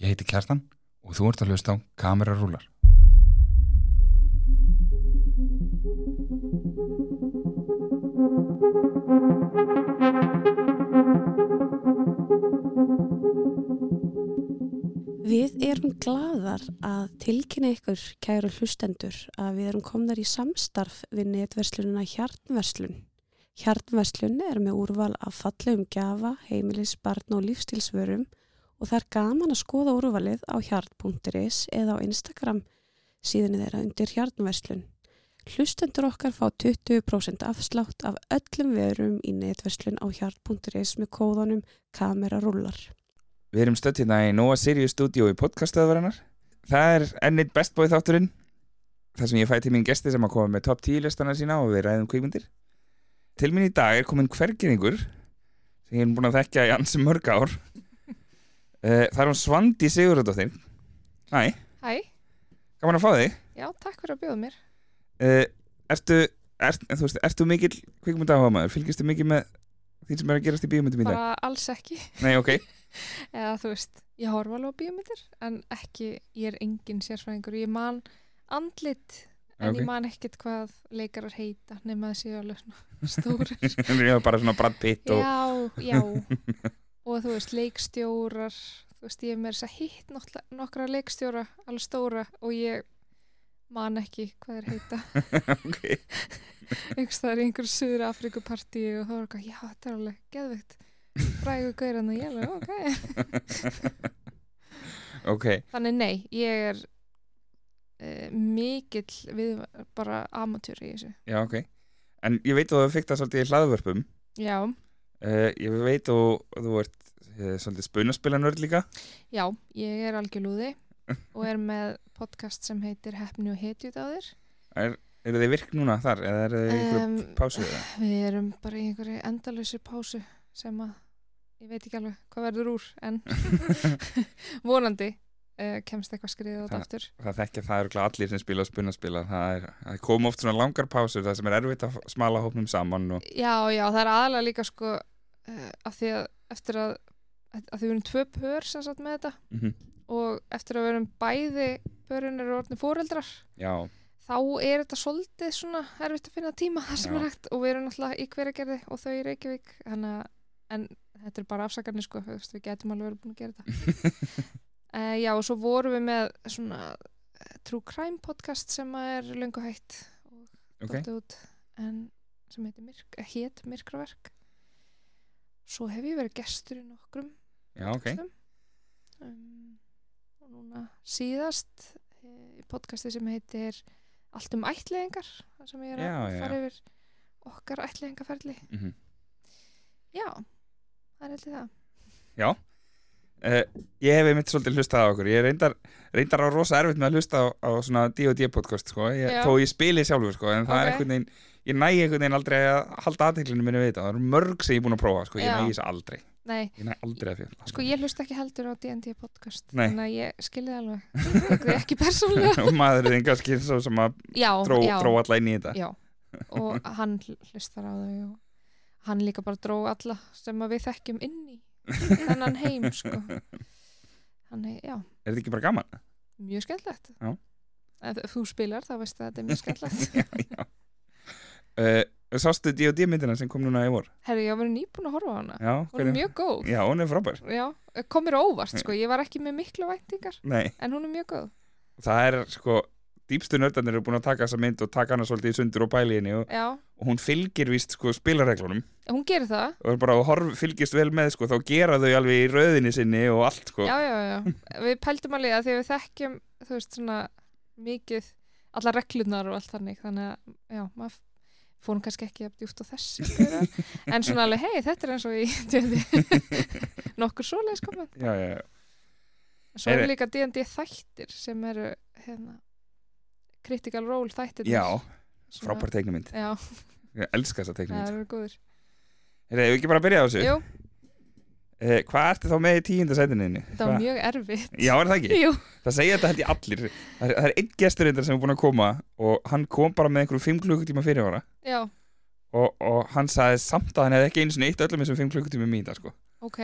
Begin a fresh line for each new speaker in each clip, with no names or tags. Ég heiti Kjartan og þú ert að hlusta á Kamerarúlar.
Við erum glaðar að tilkynna ykkur, kæru hlustendur, að við erum komnar í samstarf við netverslunina Hjarnverslun. Hjarnverslun er með úrval af fallegum gjafa, heimilis, barn og lífstilsvörum og það er gaman að skoða úrvalið á hjarn.is eða á Instagram síðan þeirra undir Hjarnverslun. Hlustendur okkar fá 20% afslátt af öllum verum í netverslun á hjarn.is með kóðunum kamerarúlar.
Við erum stödd hérna í Nóa Sirius Studio í podcastöðvarinnar. Það er ennit best boy þátturinn. þar sem ég fæ til mín gesti sem að koma með top 10 listana sína og við ræðum kvikmyndir. Til mín í dag er komin hvergeringur sem ég er búin að þekkja í ansi mörg ár. Eh, Það er hún Svandi Sigurðardóttir. Æ,
Hæ,
gaman að fá þig.
já, takk fyrir að bjóða mér.
Eh, Ertu, er, þú veist, ertu mikill kvikmyndahámaður? Fylgistu mikið með því sem er að gerast í bíómyndum í dag?
Bara alls ekki,
Nei, ok.
eða þú veist, ég horfa alveg á bíómyndir, en ekki, ég er engin sérfræðingur, ég man andlit, en
Ok.
ég man ekkit hvað leikarar heita, nema þessi alveg svona stórir.
Já, bara svona Brad Pitt og...
já, já, og þú veist, leikstjórar, þú veist, ég er með þess að hitt náttúrulega- nokkra leikstjóra, alveg stóra, og ég man ekki hvað þeir heita.
ok.
einhvers það er einhver suður Afrikupartí og þá er eitthvað, já, þetta er alveg geðvikt frægu gauran og ég er alveg, ok
ok,
þannig nei, ég er uh, mikill við bara amatúr í þessu
já ok en ég veit að þú fikk það svolítið í hlaðvörpum
já,
uh, ég veit að þú- þú ert uh, svolítið spunaspilanörd líka
já, ég er algjörlúði og er með podcast sem heitir Hefni og hetjut á þér
eru þið virk núna þar eða eru þið einhverjum um,
Em,
pásu eða?
við erum bara í einhverju endalösu pásu sem að ég veit ekki alveg hvað verður úr en vonandi uh, kemst eitthvað skriðið á
Það-
þetta aftur
það þekkja það eru allir sem spila spunaspila það, er, það kom oft svona langar pásur það sem er erfitt að smala hópnum saman og,
Já, já, það er aðalega líka sko uh, að því að eftir að, að því við erum tvö pör sem sagt með þetta
mm
og eftir að við erum bæði pörun eru orðin fóreldrar
já,
þá er þetta svolítið svona erfitt að finna tíma það sem
Já.
er hægt og við erum náttúrulega í hveragerði og þau í Reykjavík þannig að, en þetta er bara afsakarnir sko, þú veist, við getum alveg verið búin að gera þetta uh, Já, og svo vorum við með svona uh, True Crime podcast sem að er löngu hægt og
ok
dottið út en sem heitir myrk, eh, hét myrkraverk svo hef ég verið gestur í nokkrum
já, ok,
podcastum. um, og núna síðast eh, í podcasti sem heitir Allt um ætliðingar þar sem ég er
Já,
að
já,
fara yfir okkar ætliðingaferli
mhm
já, það er heldur það
Uh, ég hef einmitt svolítið hlustað á okkur ég reyndar, reyndar á rosa erfitt með að hlusta á, á svona D&D podcast sko. ég,
Já.
þó ég spili sjálfur sko, en það er
Ok.
einhvern veginn ég næ einhvern veginn aldrei að halda aðteklinu minni við þetta það eru mörg sem ég er búin að prófa sko. ég
Já.
næ þessu aldrei
Nei,
ég næ aldrei að fjöla
sko ég hlust ekki heldur á D&D podcast
Nei.
þannig að ég skilði alveg Tók þig ekki persónlega
og maður er kannski svo sem að
já,
dró,
já.
dró alla inn í þetta
Já, og hann hl- hlustar á þau og hann líka bara dró alla sem að við þekkjum inn í þennan heim, sko. Þannig, já,
er þetta ekki bara gaman?
mjög skemmtlegt.
Já.
Ef þú spilar, þá veistu að þetta er mjög skemmtlegt.
Uh, sástu D&D myndina sem kom núna í vor
Herri, ég var nýbúin að horfa á hana.
já,
Hún er
hvernig-
mjög góð.
já hún er frábær
Já, kom mér á óvart, sko. Ég var ekki með mikla væntingar,
Nei.
en hún er mjög góð.
það er sko dýpstu nördarnir eru búin að taka þessa mynd og taka hana svolítið í sundur og bæli henni og,
Já,
og hún fylgir víst sko spilareglunum
hún gerir það.
og bara að horf, fylgist vel með sko, þá gera þau alveg í rauðinni sinni og allt sko.
Já, já, já. Við pældum alveg að því að við þekkjum, þú veist, svona mikið, alla reglunar og allt þannig, þannig að, já, maður fórum kannski ekki að djúft á þessu gaurar. en svona alveg, hei, þetta er eins og í D&D nokkur svoleiðis komið
já, já, já.
svo
Heyrðu.
eru líka D&D þættir sem eru hérna, critical role þættir
já frábær teiknumynd,
já,
ég elska þessa
það
teiknumynd
eru góður
Hefur við ekki bara að byrja á þessu?
Jú,
Eh, hvað ertu þá með í tíunda sætininni?
þetta var mjög erfitt
Já, er það ekki?
Jú,
Það segja þetta held ég allir Það er, það er einn gestur reyndar sem er búin að koma og hann kom bara með einhverjum fimm klukkutíma fyrirvara
já,
og, og hann sagði samt að hann hefði ekki einu sinni eitt öllum þessum fimm klukkutíma mýta sko.
ok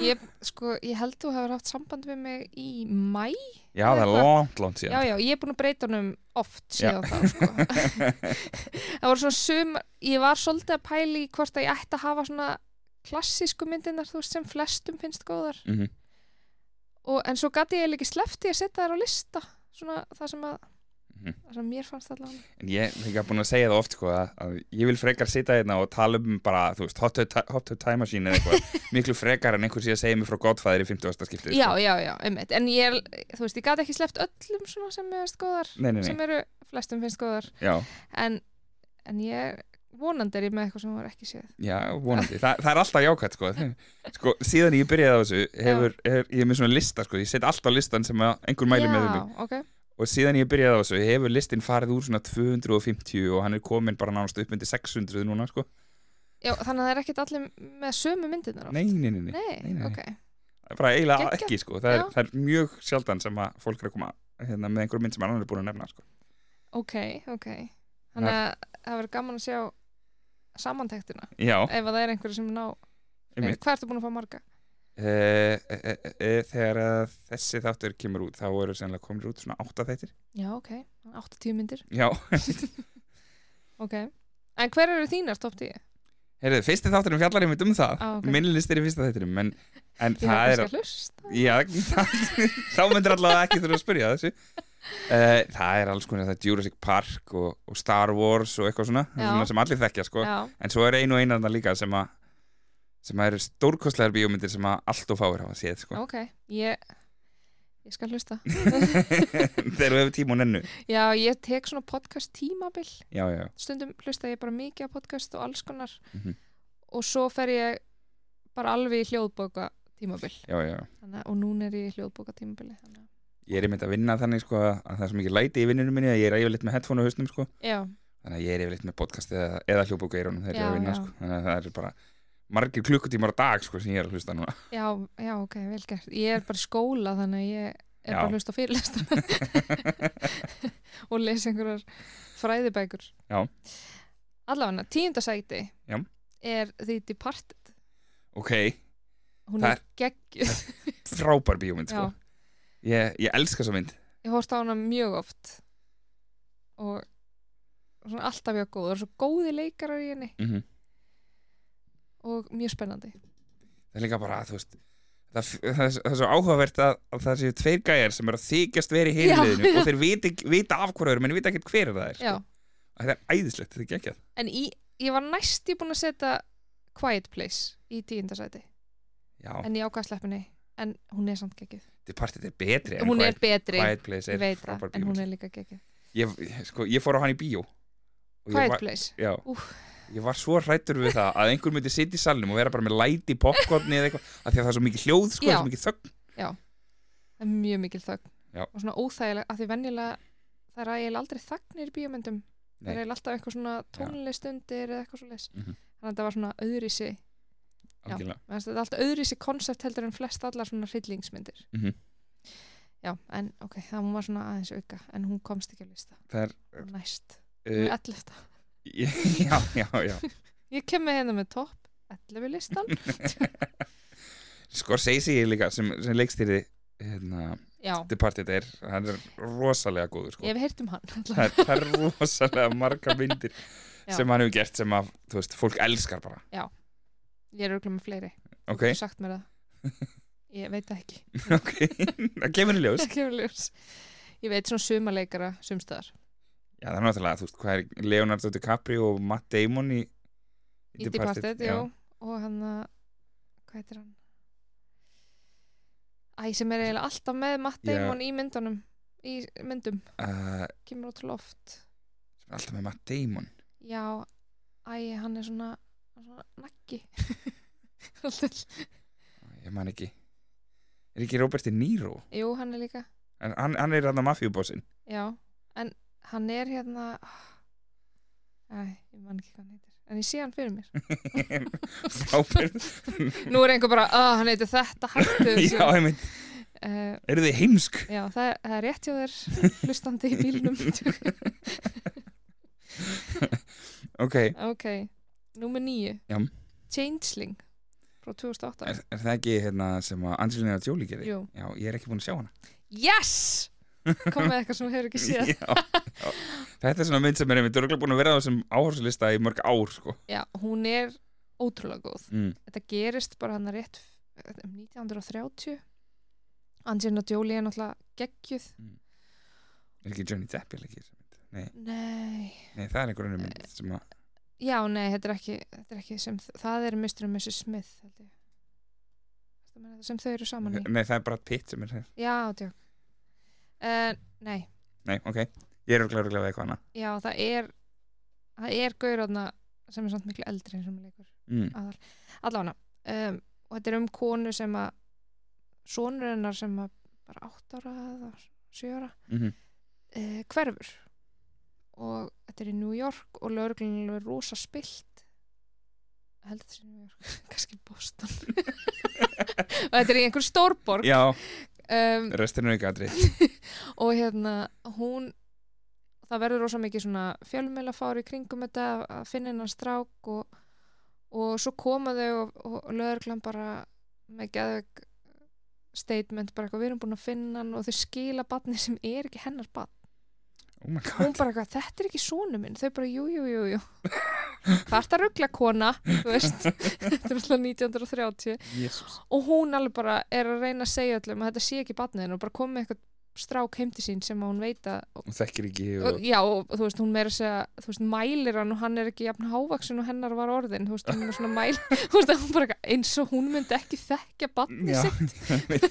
ég, sko, ég held þú hefur haft samband við mig í mæ
Já, það er
Eitthvað-
langt, langt
já,
síðan
já, ég er búin að breyta honum oft síðan þá sko. það voru svona sum ég var svolítið að pæli hvort að ég ætti að hafa svona klassísku myndinar þú veist sem flestum finnst góðar
Mhm.
og, en svo gati ég eiginlega ekki sleppti að setja þær á lista svona það sem að
Mhm.
það sem mér fannst allavega
En ég hef ekki búin að segja það oft sko, að, að ég vil frekar sita hérna og tala um bara, þú veist, hot tub, ti- hot tub time machine eða eitthvað, miklu frekar en einhver sé að segja mig frá Godfather í 50. skiptið
já,
sko.
já, já, einmitt en ég, er- þú veist, ég gati ekki sleppt öllum svona sem mér finnst góðar
Nei, nei,
sem
nei,
eru flestum finnst góðar
já,
en, en ég vonandi er ég með eitthvað sem var ekki séð
já, vonandi Þa, það er alltaf jákvæmt sko. sko síðan ég byrjaði á þessu hefur, hefur, ég er með svona lista, sko, ég set alltaf listan sem að einhver mæli
já,
með mig
ok,
og síðan ég byrjaði á þessu hefur listin farið úr svona 250 og hann er komin bara nánast upp undir 600 núna sko.
já, þannig að það er ekkert allir með sömu myndirnar oft?
nei, nei, nei, nei.
Nei,
nei, nei.
ok,
bara eiginlega
Geggjað.
ekki sko. það, er,
Já.
það er mjög sjaldan sem að fólk er að koma hérna, með einhverjum mynd sem annar er búin að nefna sko.
ok, ok þannig að það verður gaman að sjá samantektina
já,
ef að það er einhverju sem ná Nei,
einmitt
hvað ertu búin að fá marga?
e, e, e, e, þegar að þessi þáttur kemur út þá eru sennilega komin út svona átta þættir
Já, ok, 80 myndir,
já,
ok En hver eru þínar topp 10?
heyrðu, fyrsti þátturum fjallar einmitt um það
Á, ok.
minni listir í fyrsta þættinum en, en
Ég
það
er
er
kannski að hlusta
já, þá myndir allavega ekki þurfa að spyrja að þessu Uh, það er alls konar, það er Jurassic Park og, og Star Wars og eitthvað svona,
Já.
svona sem allir þekkja sko.
Já,
en svo er einu og einarna líka sem að sem að eru stórkostlegar bíómyndir sem að allt og fáir hafa séð sko.
ok, ég ég skal hlusta
þegar við hefum tíma og nennu
Já, ég tek svona podcast tímabil
já, já,
stundum hlusta ég bara mikið á podcast og alls konar
Mhm.
og svo fer ég bara alveg í hljóðbóka tímabil
já, já.
þannig, að- og núna er ég í hljóðbóka tímabili þannig. að-
ég er einmitt að vinna þannig sko, að það er svo mikið læti í vinnunum minni að ég er yfirleitt með headphone á hausnum sko.
Já,
þannig að ég er yfirleitt með podcast eða, eða hljóðbóku eyrunum þegar ég er
Já,
að vinna
já.
sko. þannig að það eru bara margir klukkutímar á dag sko, sem ég er að hlusta núna
já, já, ok, vel gert ég er bara í skóla þannig að ég
Já.
er bara að hlusta á fyrirlestra og lesa einhverjar fræðibækur
Já.
Allavega, tíundasæti
Já.
er því Departed
ok,
hún
Það
er geggjuð
frábær bíómynd sko.
Já.
ég, ég elska þessa mynd
ég hórt á hana mjög oft og svona alltaf mjög góð og svo góði leikarar í henni
mm
og mjög spennandi
það er líka bara, þú veist það, það, er, það er svo áhugavert að, að það séu tveir gæjar sem eru að þykjast verið í
Já,
heimliðinu
já.
og þeir vita, ekki- vita af hverju eru, menn vita ekkert hver það er
Já.
sko. það er æðislegt, þetta er geggjað
en í, ég var næst í búin að setja Quiet Place í tíundasæti
já,
en ég ákvað að sleppa henni en hún er samt geggjuð
Departed er betri en
hún er
Quiet,
betri,
Quiet Place
ég
er
veit það
frábær
en hún
bíómynd
er líka geggjuð
ég, sko, ég fór á hann í bíó og ég,
Quiet
var,
Place,
já,
Úff.
ég var svo hrættur við það að einhver myndi sitja í salnum og vera bara með læti í popcorni eða eitthvað, af því að það er svo mikið hljóð sko, það
Já.
er svo mikið þögn
það er mjög mikil þögn
Já.
og svona óþægileg af því venjulega það er eiginlega aldrei þagnir í bíómyndum það
Nei.
er eiginlega alltaf eitthvað svona tónlistundir eða eitthvað svo
Mhm.
þannig að þetta var svona öðrisi Já.
algjörlega.
þetta er alltaf öðrisi konsept heldur en flest allar svona hryllingsmyndir
Mhm.
já, en ok, það hún var svona aðeins auka en hún komst ekki að lista,
það er
Hún er næst hún
uh,
er 11.
já, já, já
ég kem með hérna með topp 11 listan
Scorsese Sko, líka sem, sem leikstýri hérna,
já,
Departed er, hann er rosalega góður sko.
ég hef heyrt um hann alltaf.
það, er, það er rosalega marga myndir
Já.
sem hann hefur gert sem að þú veist, fólk elskar bara
ég er auðvitað með fleiri,
ok,
þú sagt mér það ég veit það ekki
ok, það kemur í ljós
Það kemur í ljós. ég veit svona sumaleikara sumstöðar
já það er náttúrulega, þú veist, hvað er Leonardo DiCaprio og Matt Damon í,
í Departed, jú og hann að, hvað heitir hann æ, sem er eiginlega alltaf með Matt
Já.
Damon í myndunum í myndum
Uh,
kemur út loft
sem er alltaf með Matt Damon
já, æ, hann er svona, svona nakki Alltaf-
ég man ekki er ekki Robert De Niro
jú, hann er líka
en hann, hann er hann að mafjubossin
já, en hann er hérna ah, æ, ég man ekki hvað hann heitir en ég sé hann fyrir mér
frábært
nú er einhver bara, að hann heitir þetta hættu
já,
þessu."
einmitt,
Eh,
eru þið heimsk
já það, er- það er rétt hjá þér hlustandi í bílnum
ok,
ok, númer nýju
Já.
Changeling frá frá 2008
er, er það ekki hérna sem að Angelina Jolie gerði?
Jú.
Já, ég er ekki búin að sjá hana
Yes! Kom með eitthvað sem þú hefur ekki séð
já, já. Þetta er svona mynd sem er einmitt örgulega búin að vera á þessum áherslista í mörg ár sko.
Já, hún er ótrúlega góð
mm.
Þetta gerist bara hann rétt um 1930 Angelina Jolie er náttúrulega geggjuð
Er ekki Johnny Depp ég leikir Nei,
Nei,
nei, það er einhver önnur mynd sem að
já, nei, þetta er ekki, þetta er ekki sem, það er Mr. and Mrs. Smith held ég. Ertu að meina þetta sem þau eru saman í
Nei, það er bara Pitt sem er hér
Já, tjók uh, Nei,
Nei, ok, ég er örgulega örgulega við eitthvað hana
já, það er það er gaurðna sem er samt miklu eldri eins og maður leikur
mm.
aðal allána um, og þetta er um konu sem að sonur hennar sem að bara 8 ára eða 7 ára
Mm
uh, hverfur og þetta er í New York og lögreglunum er rosa spilt Ég held að þetta er í New York kannski Boston og þetta er í einhver stórborg
Já,
um,
restin er aukadri
og hérna hún það verður rosa mikið svona fjölmjölafár í kringum þetta að finna hennar strák og, og svo koma þau og, og lögreglan bara með geðveg statement bara eitthvað við erum búin að finna hann og þau skila batni sem er ekki hennar batn
Oh my
hún
god
bara eitthvað, þetta er ekki sonu minn þau bara, jú, jú, jú, jú hvað er það ruggla kona, þú veist þetta er alltaf 1930
Jesus.
og hún alveg bara er að reyna að segja öllum að þetta sé ekki batniðin og bara komið eitthvað strák heim til sín sem að hún veit að
Hún þekkir ekki
og,
og...
já, og þú veist, hún meira að segja þú veist, mælir hann og hann er ekki jafn hávaksin og hennar var orðin, þú veist, hún er svona mæl þú veist, hún bara eitthvað, eins og hún myndi ekki þekkja batni
Já,
sig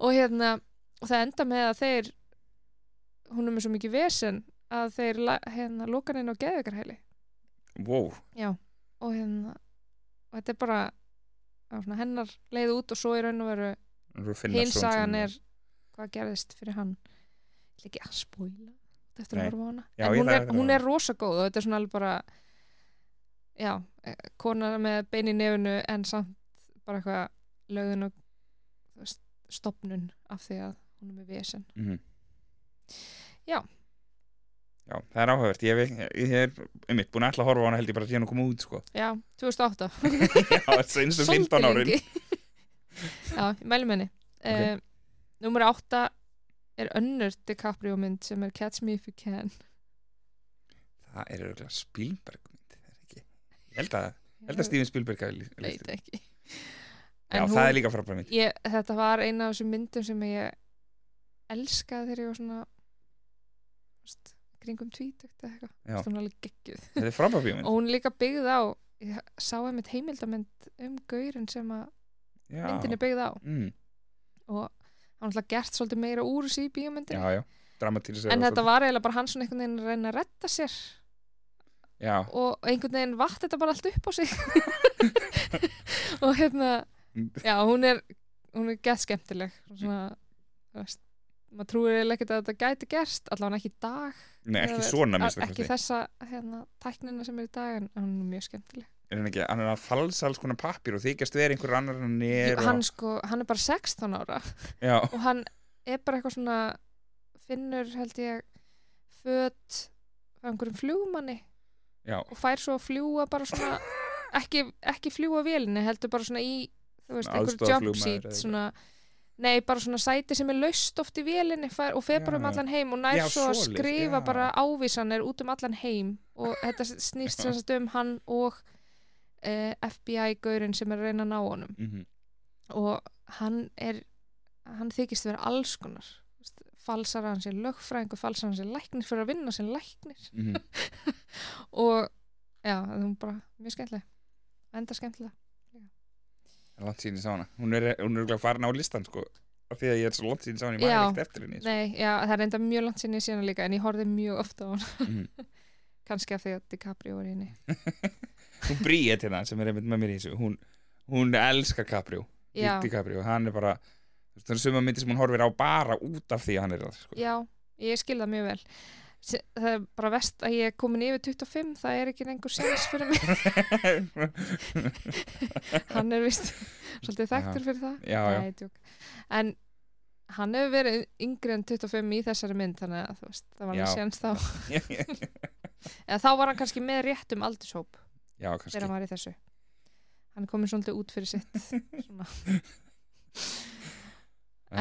og hérna, og það enda með að þeir hún er með svo mikið vesen að þeir la- hérna, lokan inn á geðvegarhæli
wow
og hérna, og þetta er bara það var svona, hennar leið út og svo í raun og veru hinsagan er hvað gerðist fyrir hann Ég ætla ekki að spóila eftir að
Nei.
horfa á hana
Já,
en
ég
hún
það
er,
eftir að
hún
horfa.
er rosa góð og þetta er svona alveg bara já, eh, kona með bein í nefnu en samt bara eitthvað lögðun og þú veist, stofnun af því að hún er með vesen
mm
Já.
Já, það er áhugavert Ég, hef- ég er um mitt búin að ætla að horfa á hana held ég bara síðan að koma út sko
já, 2008
Já, seinustu 15 árin
lengi. já, ég mæli með henni okay.
Ok.
Númer 8 er önnur DiCaprio mynd sem er Catch Me If You Can
Það er auðvitað Spielberg mynd það er ekki. Ég held að, ég held að Steven Spielberg hafi lí-
veit
lýst því.
ekki
Já,
En
það er líka frábæð mynd
ég, þetta var eina af þessum myndum sem ég elskaði þegar ég var svona veist, kringum tvítugt eða eitthvað,
Já.
Veist, hún er alveg geggjuð
Þetta er frábæð bíómynd
og hún er líka byggð á ég sá einmitt heimildamynd um gaurin sem að
Já.
myndin er byggð á
mm.
og hann alltaf gert svolítið meira úr þessi í
Já,
bíómyndin
já, dramatílis
en þetta var eiginlega bara hann svona einhvern veginn að reyna að retta sér
Já,
og einhvern veginn vatt þetta bara allt upp á sig og hérna já, hún er hún er gett skemmtileg svona, þú veist, maður trúir eiginlega ekkert að þetta gæti gerst allavega ekki í dag
nei, ekki
eða-
svona
að-
minnst
ekki þessa hérna, tæknina sem er í dag en en hún er mjög skemmtileg
Er hann ekki, hann er að falsa alls konar pappir og þykjast verið einhver annar en hann er
hann,
og...
sko, hann er bara 16 ára
Já,
og hann er bara eitthvað svona finnur held ég föt af einhverjum flugmanni
já,
og fær svo að fljúa bara svona ekki, ekki fljúa vélinni heldur bara svona í þú veist,
Svona
einhver
aðstoðarflugmaður
jump
eða
seat
eitthvað.
svona, nei, bara svona sæti sem er laust oft í vélinni fær, og fer
Já,
bara um
já.
allan heim og nær
Já,
svo að
svoleiðis,
skrifa
já.
bara ávísanir út um allan heim og þetta snýst
Já.
sem sagt um hann og uh, FBI-gaurinn sem er að reyna að ná honum
mm
og hann er hann þykist vera alls konar Þú veist, falsar að hann sé lögfræðingur falsar að hann sé læknir fyrir að vinna sem læknir
-hmm.
og já, það er bara mjög skemmtileg enda skemmtilega
langt síðan ég sá hana Hún er, hún er örugglega farin á listan sko af því að ég er svo langt síðan ég sá hana, ég
Já.
maður ekkert eftir henni sko.
Nei, já, það er enda mjög langt sinni síðan líka en ég horfði mjög ofta á hann
Mhm.
kannski af því að DiCaprio var í henni
Hún Bríet hérna sem er einmitt með mér í þessu hún, hún elskar Caprio
já,
DiCaprio, hann er bara þú veist, það er suma myndir sem hún horfir á bara út af því að hann er það sko.
já, ég skil það mjög vel Se- það er bara vest að ég er komin yfir 25 það er ekki lengur sens fyrir mig hann er vist svolítið þekktur fyrir það
Já, já.
Nei, djók. en hann hefur verið yngri en 25 í þessari mynd þannig að þú veist, það var
Já.
hann séns þá eða þá var hann kannski með réttum aldurshóp
já, kannski
þegar hann var í þessu hann er komin svolítið út fyrir sitt svona.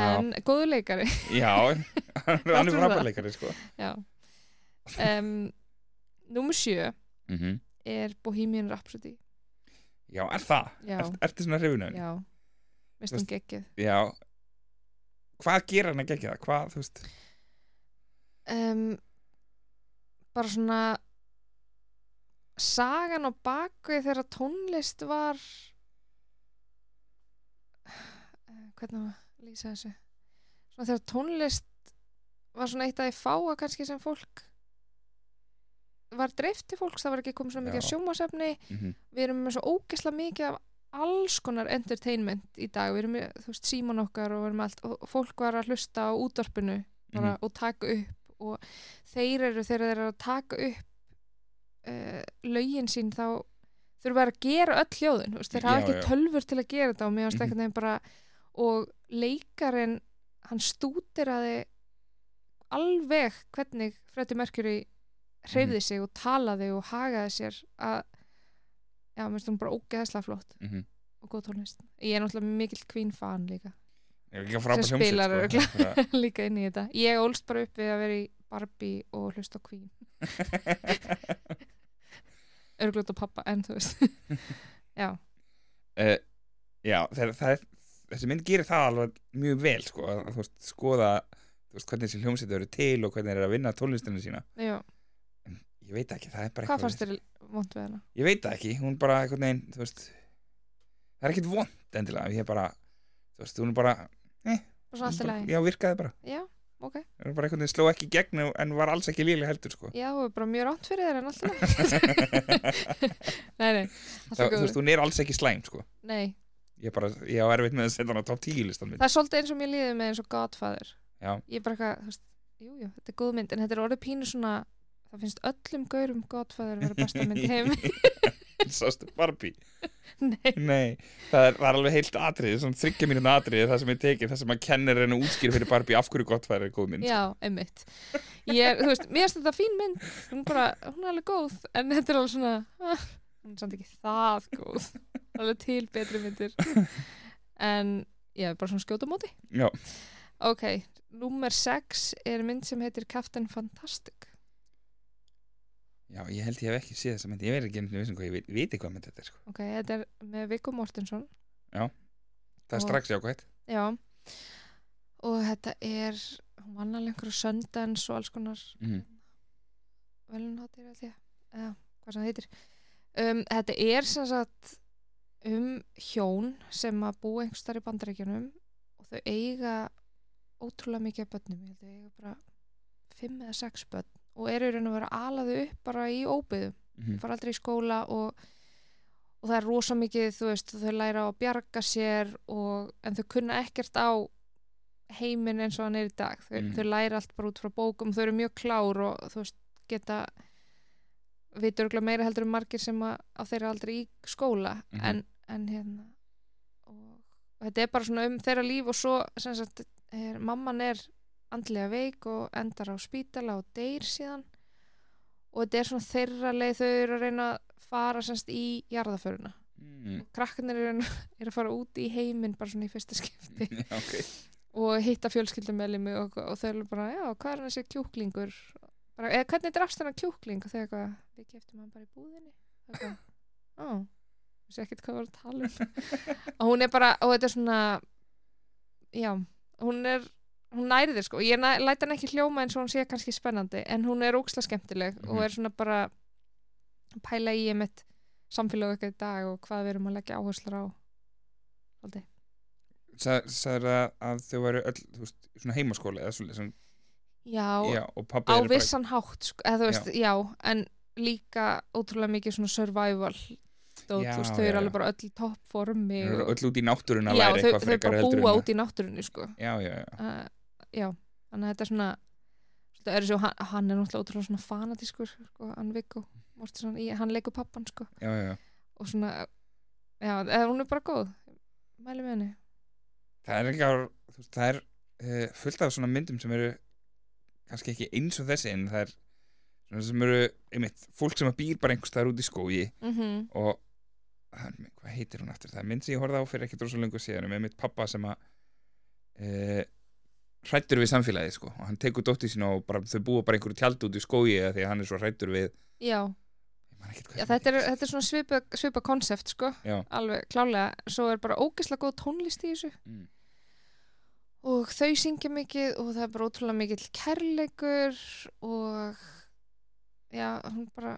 en góðu leikari
Já, hann er
Láttu það.
frábærleikari sko
já um, nummer sjö
mm
er Bohemian Rhapsody
Já, er það?
Já.
Er, ertu svona hrifunum?
já, veist hún geggið
Já Hvað gerir hann að gegja það? Hvað, þú veist
um, bara svona sagan á bakvið þegar tónlist var Eh, hvernig á að lýsa þessu svona þegar tónlist var svona eitt að ég fáa kannski sem fólk var dreift til fólks, það var ekki komið svona mikið
Já.
sjómasefni
mm
við erum með svo ógeðslega mikið af alls konar entertainment í dag við erum með, þú veist, síman okkar og við erum með allt og fólk var að hlusta á útvarpinu bara,
Mhm.
og taka upp og þeir eru þegar þeir eru að taka upp uh, lögin sín þá þurfa þeir að gera öll hljóðin þú veist, þeir hafa
Já,
ekki
já.
tölfur til að gera þetta og mér varst
Mhm.
ekkert nefn bara og leikarinn hann stúderaði alveg hvernig Freddy Mercury hreyfði
Mhm.
sig og talaði og hagaði sér að já, mér finnst hún bara ógeðslega flott
mm -hmm.
og góð tónlist ég er náttúrulega mikill Queen fan líka
Ég er ekki að frábæra
Sem
hljómsveit
spilar
sko.
örugglega.
Það er bara-
líka inn í þetta ég ólst bara upp við að vera í Barbie og hlusta á Queen örglut á pappa en þú veist já,
Eh, Já, það, er- það er Þessi mynd gerir það alveg mjög vel sko að, Þú veist, skoða Þú veist, hvernig þessi hljómsveit eru til og hvernig þeir eru að vinna tónlistina sína
já.
Ég veit það ekki, það er bara
hvað
eitthvað
fannst þér vond við hana?
Ég veit það ekki, hún bara eitthvað neginn, þú veist Það er ekkert vond endilega, ég er bara Þú veist, hún er bara,
Bara svona allt í
bara
lagi
já, virkaði bara
já, ok,
Það er bara einhvern veginn sló ekki í gegn en- en var alls ekki lílega heldur sko
já, þú er bara mjög rátt fyrir þér en allt í lagi nei, nei, allt
Það,
er
þú veist,
góður
hún er alls ekki slæm sko
nei,
Ég, bara, ég á erfitt með að setja hann á top 10 listan minn
það er svolítið eins og mér líðið með eins og Godfather
Já.
ég er bara eitthvað, þú veist, jú, jú, þetta er góð mynd en þetta er orðið pínu svona það finnst öllum gaurum Godfather að vera besta mynd í heim
Sástu Barbie
nei,
Nei, það er, það er alveg heilt atrið Svona þryggja mínum atrið það sem ég tekið Það sem að kennir henni útskýr fyrir Barbie Af hverju gott væri góð mynd
já, einmitt ég er, þú veist, mér finnst þetta fín mynd hún bara, hún er alveg góð en þetta er alveg svona, ah, hún er samt ekki það góð, alveg til betri myndir en ég er bara svona skjóta á móti
Já.
ok, númer 6 er mynd sem heitir Captain Fantastic
Já, ég held ég hef ekki séð þessa mynd Ég veit ekki einhvern veginn hvað ég veit, veit hvað mynd þetta er sko.
ok, þetta er með Viggo Mortensen
Það er
Og-
strax jákvætt
Já og þetta er hún vann alveg einhverju söndens og alls konar
mm.
velunhátir held ég eða hvað sem það heitir um, þetta er sem sagt um hjón sem að búa einhvers þar í bandaríkjunum og þau eiga ótrúlega mikið af börnum ég held að eiga bara fimm eða sex börn og eru í raun að vera alaðu upp bara í óbyðum
Mm.
fara aldrei í skóla og, og það er rosa mikið, þú veist, þau læra á að bjarga sér og, en þau kunna ekkert á heiminn eins og hann er í dag þau,
Mhm.
þau læra allt bara út frá bókum, þau eru mjög klár og þú veist, geta við dörgla meira heldur um margir sem að, að þeir eru aldrei í skóla
Mhm.
en, en hérna og, og þetta er bara svona um þeirra líf og svo sem sagt, er, mamman er andlega veik og endar á spítala og deyr síðan og þetta er svona þeirra leið þau eru að reyna að fara semst í jarðaföruna
Mm.
og krakkarnir eru, eru að fara út í heiminn bara svona í fyrsta skipti
Já, ok
og hitta fjölskyldum með limi og, og þau eru bara, já, hvað er þessi kjúklingur bara, eða hvernig drafst þennan kjúkling og þau eitthvað, við keftum hann bara í búðinni og eitthvað, á þessi ekkert hvað var að tala um og hún er bara, og þetta er svona já, hún er hún næri þér sko, ég næ, læt hann ekki hljóma eins og hún sé kannski spennandi, en hún er óksla skemmtileg og
Mhm.
er svona bara að pæla í einmitt samfélag okkar í dag og hvað við erum að leggja áherslur á Aldrei.
Sæður að, að þau væru öll þú veist, svona heimaskóla eða svolítið sem,
Já,
já, og pabbi
á
er bara,
vissan hátt sko, eða þú veist, já. en líka ótrúlega mikið svona survival dót,
Já,
þú veist, þau
já,
eru
já.
alveg bara öll í toppformi
Þau eru
og-
öll út í náttúruna að
já,
læra
þau,
eitthvað
þau
frekar
bara
heldur
búa
en að-
út í náttúrunni sko.
Já, já, já
uh, já, þannig að þetta er svona svona er þessi og hann, hann er náttúrulega ótrúlega svona fanatískur sko, hann Viggo Mortensen, í- hann leikur pappan sko,
já, já, já.
og svona já, eða hún er bara góð mæli með henni
Það er ekki ár, þú veist, það er uh, fullt af svona myndum sem eru kannski ekki eins og þessi en það er Mhm. svona sem eru, einmitt, fólk sem að býr bara einhvers staðar út í skói
mm
og hann, hvað heitir hún aftur það er mynd sem ég horfði á fyrir ekkert rosa lengur síðan með mitt pappa sem að e, hrættur við samfélagið sko og hann tekur dóttir sína og bara, þau búa bara einhverju tjald út í skói eða því að hann er svo hrættur við
já,
ég man ekkert hvað
já
sem
þetta, er,
heitir.
þetta er svona svipa, svipa konsept sko,
Já.
alveg klálega svo er bara ógeðslega góð tónlist í þessu
Mm.
og þau syngja mikið og það er bara ótrúlega mikill kærleikur og já, hún bara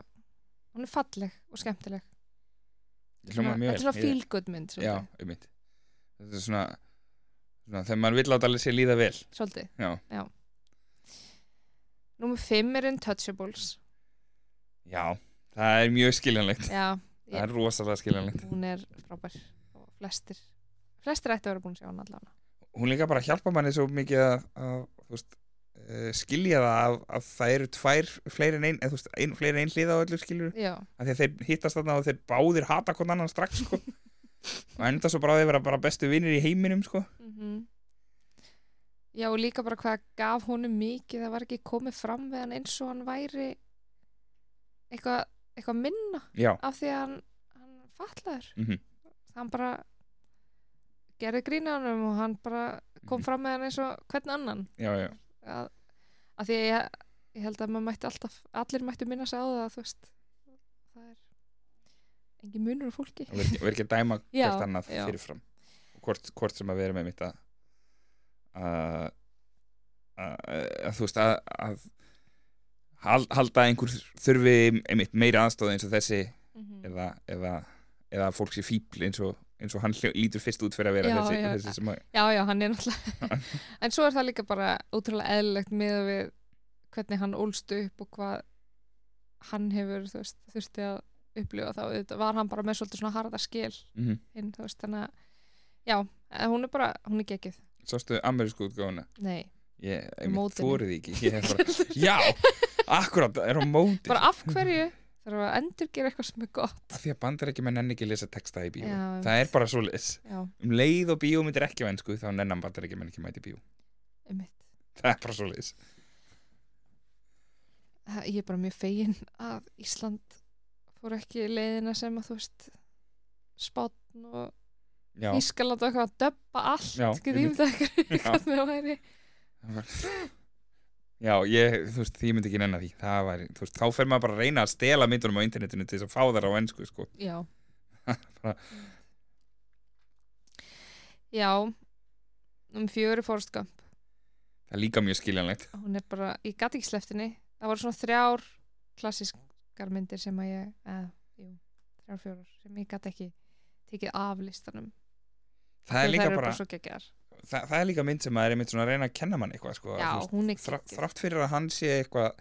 hún er falleg og skemmtileg
Þetta hljómar mjög
þetta er svona
vel. Ég-
feel good mynd
já,
svolítið,
um þetta er svona, svona þegar maður vill láta alveg sér líða vel
svolítið.
já,
Númer 5 er Intouchables
já það er mjög skiljanlegt
já,
það er rosalega skiljanlegt
hún er frábær og flestir flestir ætti að vera búin að sjá hann allavega
hún líka bara hjálpa manni svo mikið að, að þú veist, eh, skilja það að, að það eru tvær fleiri en ein, eð, veist, ein, fleiri en ein hlið á öllu skilju
já,
að því að þeir hittast þarna og þeir báðir hata hvern annan strax sko. og enda svo bara að þeir vera bara bestu vinnir í heiminum sko.
mm já og líka bara hvað gaf honum mikið það var ekki komið fram við hann eins og hann væri eitthvað eitthvað minna
já,
af því að hann, hann fatlaður
Mhm.
hann bara gerði grínanum og hann bara kom
Mhm.
fram með hann eins og hvern annan
já, já,
að, að því að ég, ég held að maður mætti alltaf, allir mættu minna sig á það þú veist það er engin munur á fólki
og verð ekki að dæma
Já,
hvort annað
já.
fyrirfram og hvort, hvort sem að vera með mitt að að að- að þú veist að, að hal- halda að einhver þurfi einmitt meiri aðstóð eins og þessi
Mhm.
eða, eða, eða að fólk sé fíbl eins og, eins og hann hljó- lítur fyrst út fyrir að vera
Já,
þessi,
já.
þessi sem að,
Já, já, hann er náttúrulega en svo er það líka bara ótrúlega eðlilegt með við hvernig hann ólst upp og hvað hann hefur þú veist, þurfti að upplifa þá auðvitað var hann bara með svolítið svona harða skil
mm
inn, þú veist, þannig að já, en hún er bara, hún er gekkið
sástu amerísku útgáfuna
nei,
ég, einmitt,
mótinu.
þórið ekki ég er bara, já, akkurat er á móti,
bara af hverju þarf að endurgera eitthvað sem er gott
af því að bandar ekki menn enn ekki lesa texta í bíó,
Já,
það er bara svo leis
já,
um leið og bíó myndir ekki vennsku þá nennan bandar ekki menn ekki mæti bíó
um
það er bara svo leis
það, ég er bara mjög fegin að Ísland fór ekki leiðina sem að þú veist spátn og
já,
Ískaland og eitthvað að döbba allt
Já,
getið
einmitt.
ímynda eitthvað hvernig það væri
það var Já, ég, þú veist, ég myndi ekki nennan því það var, þú veist, þá fer maður bara að reyna að stela myndunum á internetinu til þess að fá þar á ennsku, sko
já
Bara-
já um fjöru fórskamp
það er líka mjög skiljanlegt
hún er bara, ég gæti ekki sleftinni það voru svona þrjár klassískar myndir sem að ég eða, jú, þrjár fjórar sem ég gæti ekki tekið af listanum
það er
Því
líka
þær eru
bara,
svo geggjar
Þa, það er líka mynd sem maður er einmitt svona að reyna að kenna mann eitthvað sko,
já,
þú veist,
hún er
þra,
geggjuð.
þrátt fyrir að hann sé eitthvað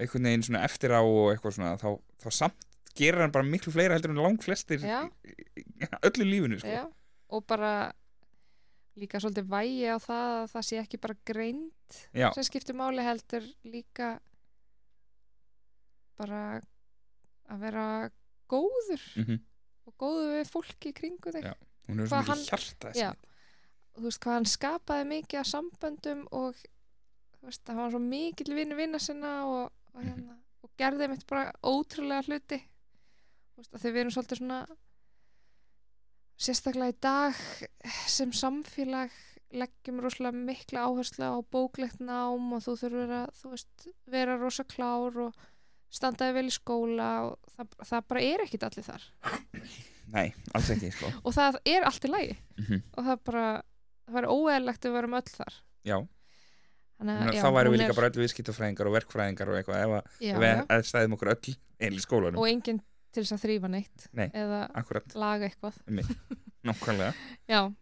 einhvern veginn svona eftir á og eitthvað svona þá, þá samt gerir hann bara miklu fleira heldur en lang flestir
Já.
öllu lífinu sko.
Já, og bara líka svolítið vægi á það að það sé ekki bara greind
Já.
sem skiptir máli heldur líka bara að vera góður
Mhm.
og góður við fólki í kringu þig
Já. hún er svona
Hvað
mikið sko.
hann-
hjarta þessi
Já.
mynd.
og þú veist hvað hann skapaði mikið af samböndum og þú veist að hann var svo mikill vinnu vinna sinna og, og,
Mhm.
hérna, og gerði mitt bara ótrúlega hluti þú veist að þau við erum svolítið svona sérstaklega í dag sem samfélag leggjum rosalega mikla áherslu á bóklegt nám og þú þurfur að þú veist, vera rosa klár og standaði vel í skóla og það, það bara er ekkit allir þar
nei, alls ekki sko.
og það er allt í lagi
Mhm.
og það bara, það væri óeðlegt að við varum öll þar
já,
Þannig,
Ná,
að- Eh, já,
þá væri
hún
við líka
er-
bara öllu viðskiptafræðingar og verkfræðingar og eitthvað ef að-
já,
ef við
já.
að stæðum okkur öll einn í skólanum,
og enginn til þess að þrýfa neitt
Nei.
eða
akkurat,
laga eitthvað
nákvæmlega
já,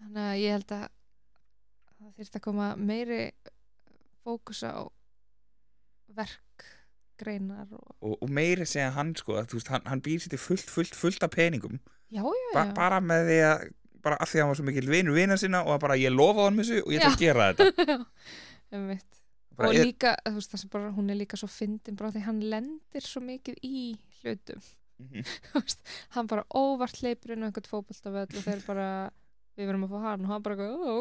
þannig að ég held að það þyrfti að koma meiri fókus á verkgreinar og
og, og meiri segja hann sko að, þú veist, hann, hann býr sér til fullt, fullt, fullt af peningum
já, já,
ba
já,
bara með því að bara af því að hann var svo mikil vinur vina sinna og að bara ég lofa hann þessu og ég ætla að gera þetta
um mitt
bara,
og
ég,
líka, þú veist, það sem bara hún er líka svo fyndin bara af því hann lendir svo mikið í hlutum
Mhm.
Þú veist, hann bara óvart hleypur inn á einhvern fótboltavöll og þeir bara við verðum að fá hann og hann bara eitthvað, "Ó,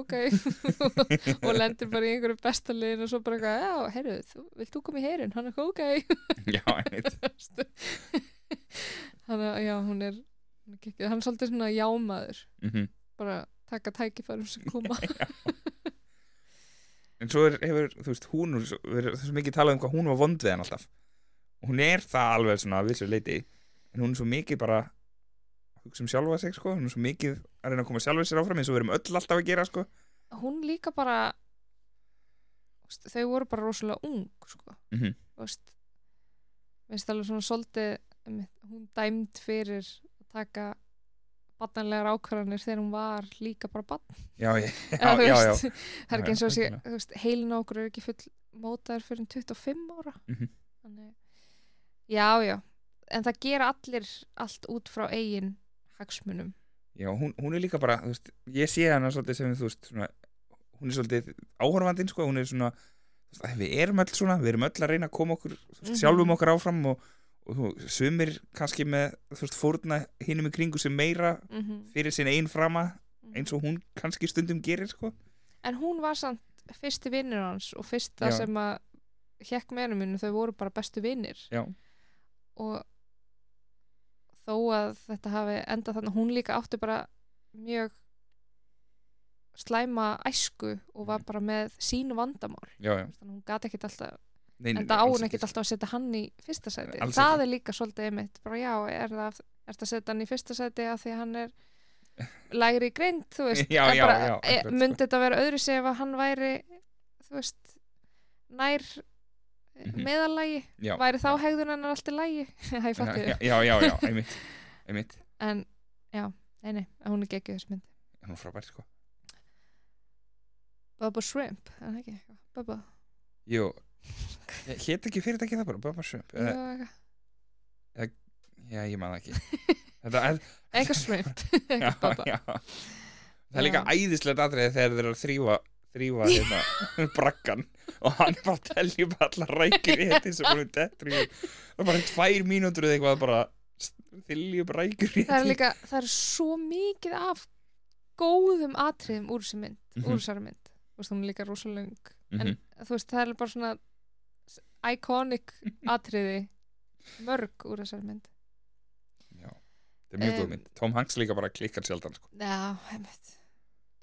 ok og lendir bara í einhverju besta liðin og svo bara eitthvað, já, heyrðu, þú, vilt þú koma í heyrin hann er eitthvað, ok
já, einmitt.
Þú veist. þannig að já, hún er, hún svona kikkið. Hann er svolítið svona jámaður,
mm
bara taka tækifærum sem koma.
en svo er, hefur, þú veist, hún er svo- við erum svo mikið talað um hvað hún var vond við hann alltaf og hún er það alveg svona að vissu leiti en hún er svo mikið bara að hugsa um sjálfa sig, sko, hún er svo mikið að reyna að koma sjálfa sér áfram eins og við erum öll alltaf að gera, sko
Hún líka bara, þú veist, þau voru bara rosalega ung, sko.
Mhm.
Þú veist, veist alveg svona svolítið, einmitt, hún dæmd fyrir að taka barnanlegar ákvarðanir þegar hún var líka bara barn.
já, ég, já,
Eða, þú
já, já,
veist, það er
Já,
ekki eins og sé,
algjörlega.
þú veist, heilin á okkur er ekki full mótaður fyrir 25 ára
Mhm.
þannig, já, já en það gera allir allt út frá eigin hagsmunum
já hún, hún er líka bara, þú veist, ég sé hana svolítið sem, þú veist, svona hún er svolítið áhorfandinn, sko, hún er svona þú veist, æ, við erum öll svona, við erum öll að reyna að koma okkur, þú veist,
Mhm.
sjálfum okkur áfram og, og þú, sumir kannski með, þú veist, fórna hinum í kringu sem meira
mm
fyrir sinna einn frama eins og hún kannski stundum gerir sko
en hún var samt fyrsti vinnur hans og fyrsta
Já.
sem að hjekk með hennu mínu þau voru bara bestu vinnir
Já.
og þó að þetta hafi endað þannig hún líka átti bara mjög slæma æsku og
Mhm.
var bara með sín vandamál
já, já.
þannig að hún gat ekkit alltaf
Nei,
en það á
alls sko.
hún ekkit alltaf að setja hann í fyrsta sæti
Alls
það
ekki.
er líka svolítið einmitt bara já, er það er að setja hann í fyrsta sæti að því að hann er lægri í greind, þú veist
Já,
en
já,
bara,
já,
e,
akkurat, sko.
myndi þetta vera öðru sig ef að hann væri þú veist, nær mm
Mhm.
meðalægi,
já,
væri þá
já.
hegðun hennar allt í lægi, það ég fatti
já, já, já, já, einmitt, einmitt.
en já, nei, nei, hún er geggjuð þessu mynd
hún er frábær sko
Bubba Shrimp, er það ekki? Bubba,
jú, hétt ekki fyrirtæki það bara Bubba Shrimp,
jú,
eða,
eitthvað.
já, ég maður ekki þetta er
eitthvað shrimp
já,
eitthvað Bubba
já. það er líka
Já.
æðislegt atriði þegar þeir eru að þrýfa þrýfa hérna brakkan og hann bara telji bara allar rækjur í þetta sem hún dettur í og bara tvær mínútur eða eitthvað bara þylju bara rækjur í
það er líka, það er svo mikið af góðum atriðum úr þessi mynd,
Mhm.
úr þessari mynd þú veist, hún er líka rosalöng mm
Mhm.
en þú veist, það er bara svona s- iconic atriði mörg úr þessari mynd
Já, þetta er mjög góð
Em,
mynd Tom Hanks líka bara klikkar sjaldan sko.
já, heimitt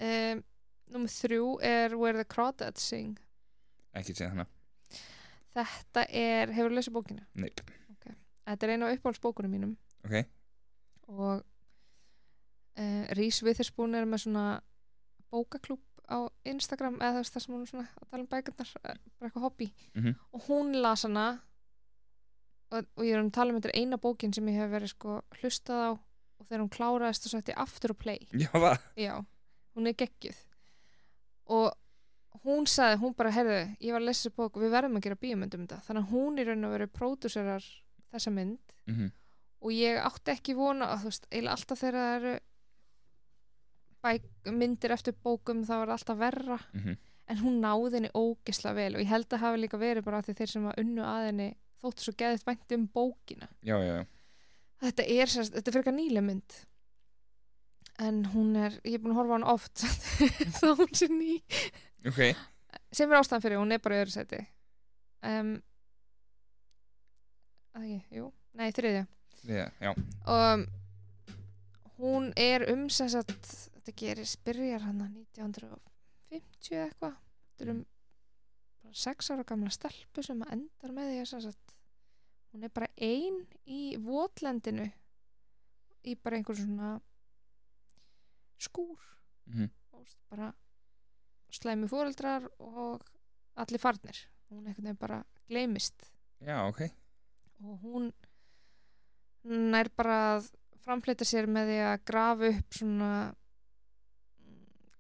um, nummer þrjú er Where the Crawdads Sing
ekki séð hana
þetta er, hefur lesið bókina
Nei,
þetta er eina af uppáhaldsbókunum mínum
ok,
og uh, Rís Viðherspún er með svona bókaklúb á Instagram eða þess það sem hún er svona að tala um bækarnar eh, bara eitthvað hobby
Mhm.
og hún las hana og, og ég er um að tala um þetta er eina bókin sem ég hef verið sko hlustað á og þegar hún kláraðist og sætti aftur og play
já það
já, hún er geggjuð og hún sagði, hún bara herði, ég var að lesa þessi bók og við verðum að gera bíómyndum um þetta þannig að hún í raun og verið pródúserar þessa mynd
mm
og ég átti ekki vona að þú veist, eiginlega alltaf þegar það eru bæk, myndir eftir bókum þá er það alltaf verra
Mhm.
en hún náði henni ógisla vel og ég held að hafi líka verið bara af því þeir sem að unnu að henni þóttu svo geðið vænt um bókina
Já, já, já,
þetta er, sérst, þetta er fyrir eitthvað nýlega mynd en hún er ég er búin að horfa á hann oft þá hún sé ný
ok
sem er ástæðan fyrir, hún er bara í öðru seti um, að ekki, jú, nei, þriðja
Já, já,
og hún er um sem sagt þetta gerir byrjar hann 1950 eða eitthvað þetta er um bara sex ára gamla stelpu sem að endar með því að sem sagt hún er bara ein í votlendinu í bara einhver svona skúr
Mhm.
og veist, bara slæmi fóreldrar og allir farnir hún einhvern veginn bara gleymist
já, ok
og hún nær bara að framfleyta sér með því að grafa upp svona,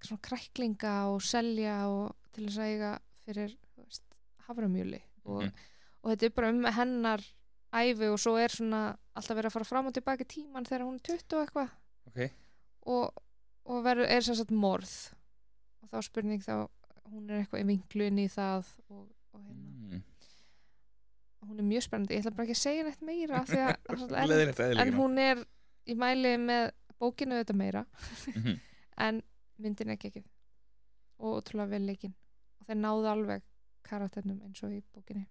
svona kræklinga og selja og til þess að eiga fyrir þú veist, haframjöli og,
Mhm.
og þetta er bara um hennar æfi og svo er svona alltaf verið að fara fram og tilbaka í tíman þegar hún er 20 og eitthvað
Ok,
og, og verður, er sem sagt morð og þá er spurning þá hún er eitthvað í vinklu inn í það og, og hérna
mm.
hún er mjög spennandi, ég ætla bara ekki að segja neitt meira af því að það er svolítið erfitt
leðilegt
en
eðilegina
hún er, ég mæli með bókinu auðvitað meira
Mhm.
en myndin ekki ekki og ótrúlega vel leikinn og þeir náðu alveg karakternum eins og í bókinni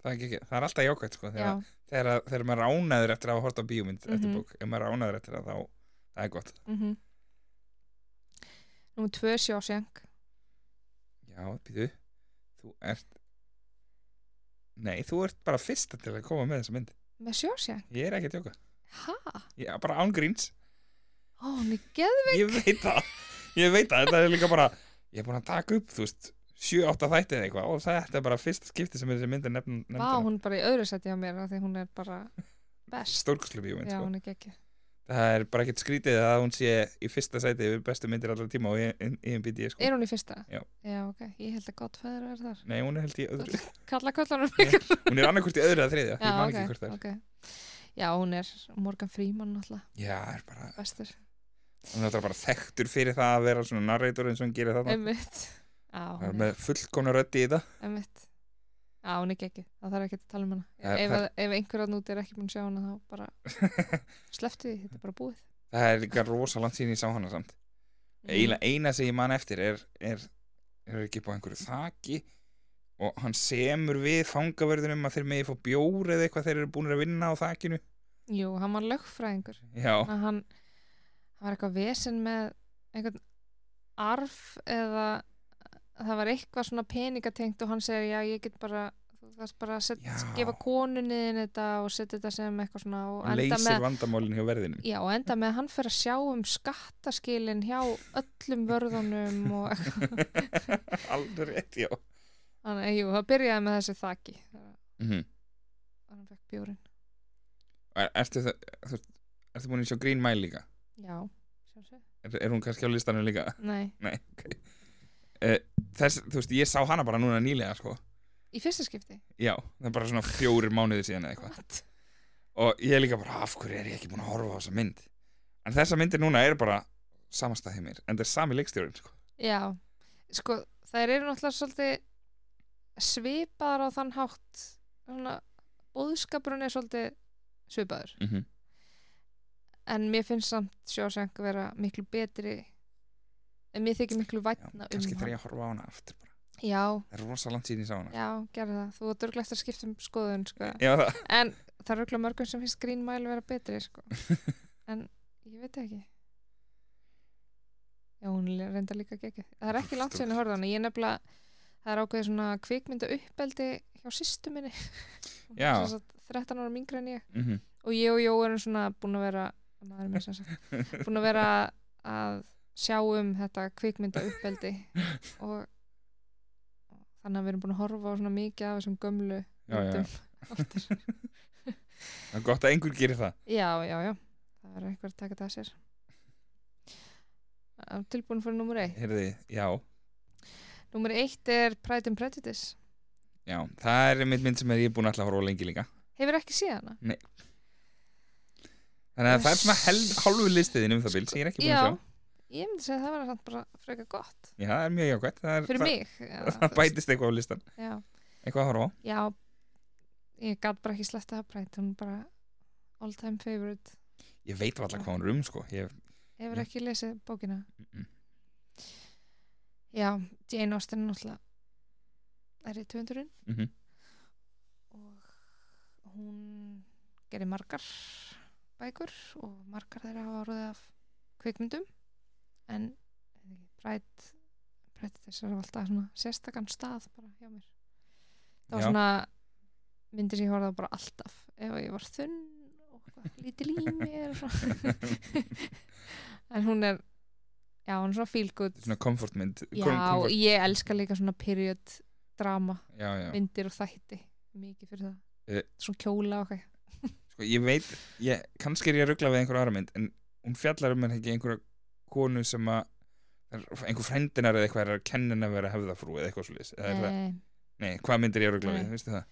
það, er ekki, ekki- það er alltaf jákvæmt sko,
já,
þegar, þegar, að- þegar maður ránaður eftir að hafa hort á bíómynd eftir
Mhm.
bók, ef maður ránaður eftir að þá það er gott
mm -hmm. Nú tvö sjóseng
já, býtu, þú ert nei, þú ert bara fyrsta til að koma með þessa mynd
með sjóseng,
ég er ekki að tjóka,
ha?
ég er bara ángríns
Ó, hún er geð
ég veit það, ég veit það þetta er líka bara, ég er búin að taka upp þú veist, 7-8 þætti eða eitthvað og þetta er bara fyrsta skipti sem þessi mynd er nefn, nefnd
Vá, hún er bara í öðru seti á mér af því hún er bara best
stórkuslu bíómynd
Já,
sko.
hún er gekkið
það er bara ekkert skrítið að hún sé í fyrsta sæti yfir bestu myndir allra tíma og IMBD sko.
Er hún í fyrsta?
Já.
ok, ég held að gott fæður er þar
nei, hún er held í öðru
Kalla köllanum
Já, hún er annarkvort í öðru eða þriðja, ég man ekki hvort það er
ok Já, hún er Morgan Freeman alltaf
já, er bara,
bestur
hún er náttúrulega bara þekktur fyrir það að vera svona narrator eins og hún gerir þarna
Einmitt Já,
það er
hún er,
með fullkomna röddi í það
einmitt Já, hún er gekkið, það þarf ekki að tala um hana
Það-
Ef,
það-
ef, ef einhverjarn út er ekki búin að sjá hana þá bara sleftu því, þetta er bara búið
það er líka rosa langt sín í sá hana samt
Mhm.
eiginlega eina sem ég man eftir er, er, er ekki på einhverju þaki og hann semur við fangavörðunum að þeir megi fá bjór eða eitthvað þeir eru búin að vinna á þakinu
Mm. Jú, hann var lögfræðingur
já,
að hann, hann var eitthvað vesen með einhvern arf eða það var eitthvað svona peningatengt og hann segir já ég get bara þú þarft bara að set,
Já.
gefa konunniðin þetta og setja þetta sem eitthvað svona og
hann
enda
leysir
með,
vandamálin hjá verðinum
já, og enda með að hann fer að sjá um skattaskilin hjá öllum vörðunum og eitthvað.
alveg rétt, já
þannig að jú, það byrjaði með þessi þaki þegar
mm
hann fekk bjórin
er, ertu, það, þú, veist, ertu búin að sjá Green Mile líka?
já, sjálfsög,
Er, er hún kannski á listanum líka?
nei,
Nei, ok uh, Þess, þú veist, ég sá hana bara núna nýlega, sko
í fyrsta skipti
Já, það er bara svona fjórir mánuðir síðan eða eitthvað
What?
Og ég er líka bara, af hverju er ég ekki búin að horfa á þessa mynd? En þessa myndir núna er bara samastæðið mér En það er sami leikstjórinn, sko
Já, sko þær eru náttúrulega svolítið svipaðar á þann hátt svona, bóðskapurinn er svolítið svipaður
mm -hmm.
en mér finnst samt sjóseng vera miklu betri en mér þykir miklu
Já,
vætna
kannski
um
þarf
hann
ég að horfa á hana aftur bara
Já,
Það er rosa langt síðan ég sá hana
já, gerðu það þú var dörglegt að skipta um skoðun sko.
Já, það
en það eru örugglega mörgum sem finnst Green Mile vera betri sko. en ég veit það ekki já, hún er reyndar líka ekki það er ekki langt sinni að horfa hana ég er nefnilega, það er ákveðið svona kvikmynda uppeldi hjá sýstu minni Hún er
Já.
sem sagt 13 ára mingra en ég
mm
og ég og Jó erum svona búin að vera maður mér sem sagt búin að vera að sjá um þetta kvikmynda uppeldi og, og þannig að við erum búin að horfa á svona mikið af þessum gömlu
Já, já, já.
myndum aftur
Það er gott að einhver gerir það
Já, já, já, það verður eitthvað að taka þetta að sér Það er Tilbúin fyrir nummer eitt
Heyrði, já
Nummer eitt er Pride and Prejudice
Já, það er einmitt mynd sem er ég búin að ætla að horfa á lengi líka
Hefur ekki séð hana?
Þannig að það er svona hel- hálfu listiðin um það bil sem ég er ekki búin
Já,
að sjá
ég myndi segja að það var samt bara frekar gott
Já, það er mjög jákvæmt Það, er-
Fyrir
það,
mig já,
það bætist eitthvað á listan
já,
Eitthvað að horfa á
já, ég gat bara ekki slett að Pride Hún er bara all time favorite
Ég veit alltaf hvað hún er um sko ég,
Hefur
Já.
ekki lesið bókina
Mm-mm.
Já, Jane Austen er náttúrulega er í 200
mm
og hún gerir margar bækur og margar þeirra hafa rúðið af kvikmyndum en brætt brætt þess að alltaf svona sérstakann stað bara hjá mér það var
Já.
svona myndir sem ég horfði á bara alltaf ef ég var þunn og hvað, lítil í mér og svona. en hún er já, hún er svona feel good
Svona komfortmynd
já, og ég elska líka svona period drama
já, já.
myndir og þætti mikið fyrir það
Eh.
svona kjóla og eitthvað
Sko, ég veit, ég, kannski er ég að ruggla við einhverja aðra mynd en hún fjallar um er ekki einhverja konu sem að er- einhver frændinar eða eitthvað er að kennin að vera hefðafrú eða eitthvað svolítið það,
Eh,
Nei, hvað myndir ég að ruggla
Nei.
við, veistu það?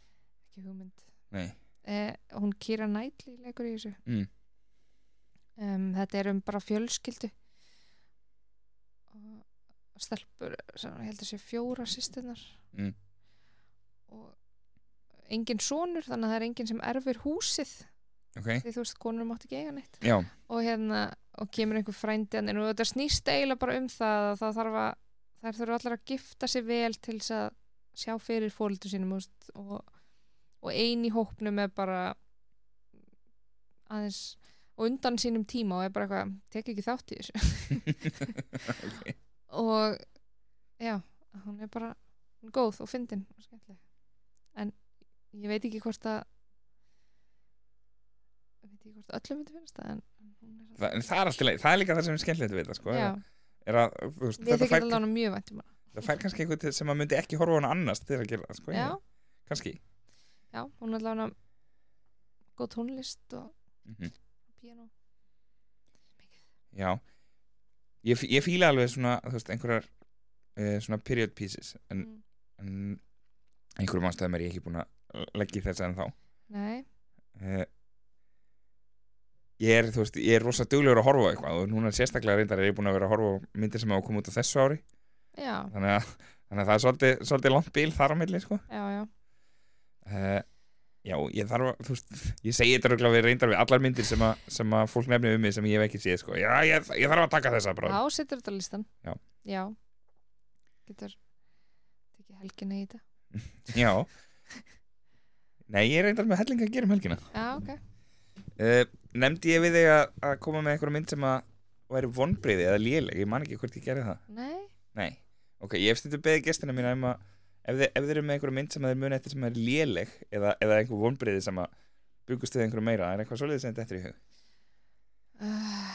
ekki hugmynd
Nei,
eh, hún Kira Knightley leikur í þessu
Mm.
Em, þetta er um bara fjölskyldu og stelpur sem ég held að sé fjóra sýstunar
Mm.
og engin sonur þannig að það er engin sem erfir húsið
ok
því þú veist konur mátt ekki eiga neitt
Já,
og hérna og kemur einhver frændi hann en þetta snýst eiginlega bara um það að það þarf að þær þurfa allar að gifta sig vel til þess að sjá fyrir fólöldu sínum þú veist, og, og ein í hópnum er bara aðeins og undan sínum tíma og er bara eitthvað, tek ekki þátt í þessu og já, hún er bara góð og fyndin og skemmtileg en ég veit ekki hvort að ég veit ekki hvort öllum myndi finnst það en en hún er
það, en það er alltaf leið, það er líka það sem er skemmtilegt við það sko,
já,
er að, þú veist,
við
þetta
þykir
fær,
alveg hann mjög vænt um hana
það fær kannski einhvern til- sem að myndi ekki horfa á hana annars til að gera það sko,
já,
kannski
já, hún er alveg hann góð tónlist og
Mhm.
piano
já, ég, fí- ég fíla alveg svona, þú veist, einhverjar uh, svona period pieces en,
Mm.
en einhverjum ástæðum er ég ekki búin að leggja í þess en þá
nei,
uh, ég er, þú veist, ég er rosa duglegur að horfa á eitthvað og núna sérstaklega reyndar er ég búin að vera að horfa á myndir sem hafa komið út á þessu ári
já,
þannig að, þannig að það er svolítið, svolítið langt bíl þar á milli sko.
já, já
uh, já, ég þarf að þú veist, ég segi þetta röglega við reyndar við allar myndir sem að, sem að fólk nefnir um mig sem ég hef ekki séð sko. já, ég, ég þarf að taka þessa bara
þá setur þetta á listan
Já.
já. getur tekið helgina í þetta
já nei, ég er reyndar með hellinga að gera um helgina
já, ok
uh, nefndi ég við þig að, að koma með einhverja mynd sem að væri vonbreyði eða léleg, ég man ekki hvort ég gerði það
nei,
nei, ok, ég hef stundu beðið gestina mína um að ef, þið, ef þeir eru með einhverja mynd sem þeir muni eftir sem er léleg eða, eða einhver vonbreyði sem að byggust þið einhverju meira, er eitthvað svoleiðis sem þetta eftir í hug
uh,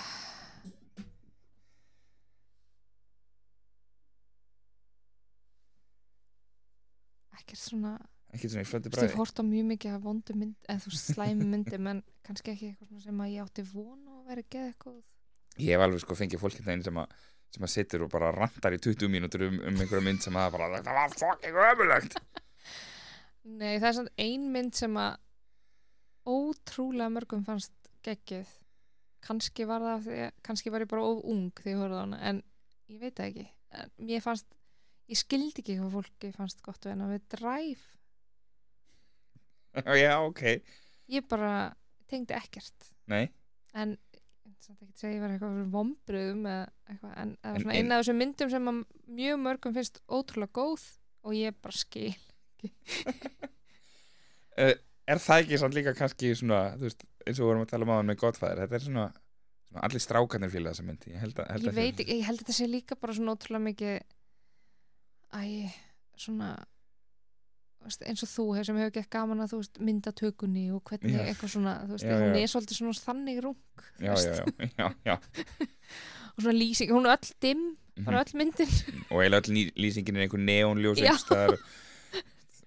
ekkert svona
ekki svona í flötu
Þú veist, ég
bræði
hort á mjög mikið að vondu mynd eða þú veist, slæmi myndi, menn kannski ekki eitthvað svona sem að ég átti von og verið geð eitthvað
ég hef alveg sko fengið fólk hérna einu sem að sem að situr og bara rantar í 20 mínútur um, um einhverja mynd sem að bara þetta var fucking ömulegt
Nei, það er svona ein mynd sem að ótrúlega mörgum fannst geggið. Kannski var það af því, að- kannski var ég bara of ung þegar ég horfði á hana, en ég veit það ekki. En mér fannst, ég skildi ekki hvað fólki fannst gott við hana við dræf.
já, ok,
Ég bara tengdi ekkert.
nei
En samt ekki segja ég var eitthvað fyrir vombriðum eða eitthvað, en það var
En
svona
ein-
eina af þessum myndum sem að mjög mörgum finnst ótrúlega góð og ég bara skil.
er það ekki samt líka kannski svona þú veist, eins og við vorum að tala um áðan með Godfather þetta er svona, svona allir strákanir fíla þessa mynd ég held að, held
ég
að
veit ekki, ég held að þetta sé líka bara svona ótrúlega mikið æ, svona veist, eins og þú hef, sem hefur gett gaman að þú veist, myndatökunni og hvernig
Já.
eitthvað svona, þú veist,
Já,
hún
já.
er svolítið svona þannig rung þú
já,
veist,
já, já, já, já.
og svona lýsing, hún er öll dimm
Mhm.
bara öll myndin,
og eiginlega öll ný- lýsingin er einhver neónljós
Já.
einhvers staðar.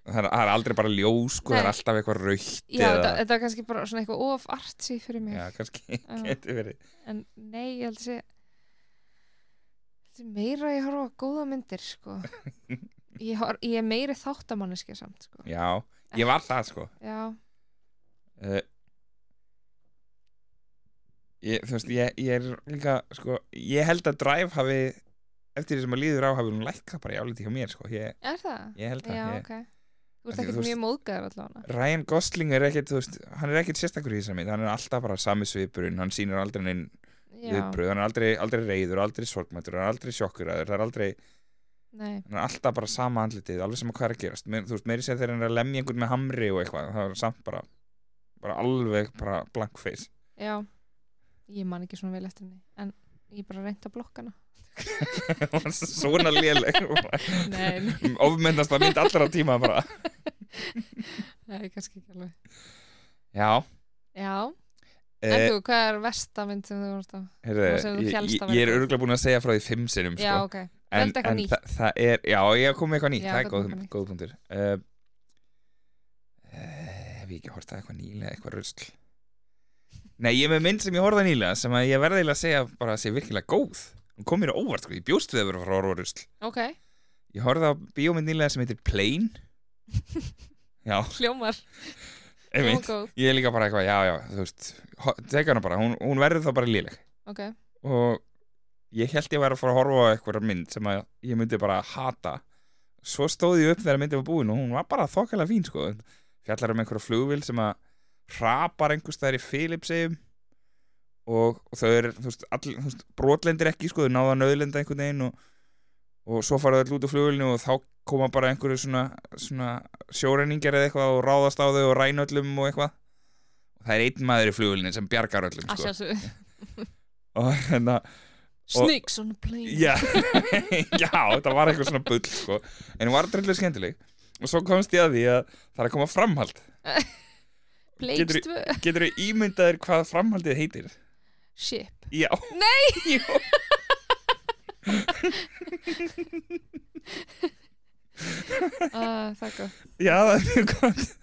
það er, það er aldrei bara ljós sko, það er
Nei.
alltaf eitthvað raukt
já, þetta, þetta er kannski bara svona eitthvað of artsy fyrir mig
já, kannski
Já.
getur verið
en nei, ég held að sé þetta er meira að ég horfa á góða myndir, sko ég, hor, ég er meiri þáttamanniski samt, sko
já, ég var það sko
já,
uh, ég, þú veist, ég, ég er líka sko, ég held að Drive hafi eftir því sem að líður á hafi hún lækka bara í áliti hjá mér sko, ég,
er það?
ég held að
Já,
ég,
ok. Þú ert
Af því að
ekkert
þú
mjög móðgæður allavega.
Ryan Gosling er ekkit, þú veist, hann er ekkit sérstakur í þessar mynd, hann er alltaf bara sami svipurinn hann sýnir aldrei neinn
Já,
viðbröð hann er aldrei, aldrei reyður, aldrei sorgmættur hann er aldrei sjokkuraður, það er aldrei
nei,
hann er alltaf bara sama andlitið, alveg sama hvað er að gerast Meir, þú veist, meiri sér þegar hann er að lemja einhvern með hamri og eitthvað, það er samt bara bara alveg bara blank face
já. Ég man ekki svona vel eftir henni. En ég bara reyndi að blokka hana.
svona léleg
Nei, nei,
ofmyndast að mynd allra tíma bara
nei, kannski ekki alveg.
já
Já, en
eh, sko.
þú, hvað er versta mynd sem þú vorst á?
heyrðu,
það sem þú
ég,
hélst
ég,
að
ég er
vera.
örgulega búin að segja frá því fimm sinnum
Já,
sko.
ok.
en,
veldu eitthvað
en
nýtt.
það, það er já, ég hef komið eitthvað nýtt,
Já,
það er
þú
góð,
komið eitthvað nýtt.
góð punktur uh, uh, hef ég ekki hortað eitthvað nýlega eitthvað rusl nei, ég er með mynd sem ég horfði á nýlega sem að ég verði eiginlega að segja bara að sé virkilega góð hún kom mér á óvart, sko, ég bjóst við að vera frá orða rusl
Ok,
ég horfði á bíómynd nýlega sem heitir Plane já,
hljómar.
einmitt
Hljómar góð.
ég er líka bara eitthvað, já, já, þú veist ho- teka hana bara, hún, hún verður þá bara léleg
Ok,
Sko. og ég held ég væri að fara að horfa á eitthvað mynd sem að ég myndi bara hata svo stóð ég upp þegar myndin var búin og hún var bara þokkalega fín, sko fjallar um einhverja flugvil sem að hrapar einhverstaðar í Philipsheim og, og þau eru, þú veist, all, þú veist brotlendir ekki, sko, þau náða að nöðlenda einhvern veginn og, og svo fara þau út úr flugvilinu og þá koma bara einhverju svona, svona sjóreiningjar eða eitthvað og ráðast á þau og ræna öllum og eitthvað og það er einn maður í flugulinu sem bjargar öllum
að
sko.
sjálfsögðu.
og hérna
Snakes on a plane.
já, já, þetta var eitthvað svona bull sko. en hún var dröldur skemmtileg og svo komst ég að því að það er að koma framhald
Planes
Getur-
2.
getur þú ímyndaðir hvað framhaldið heitir?
Ship.
Já. Nei! Jú.
Uh, það er gott.
Já, það er mjög gott.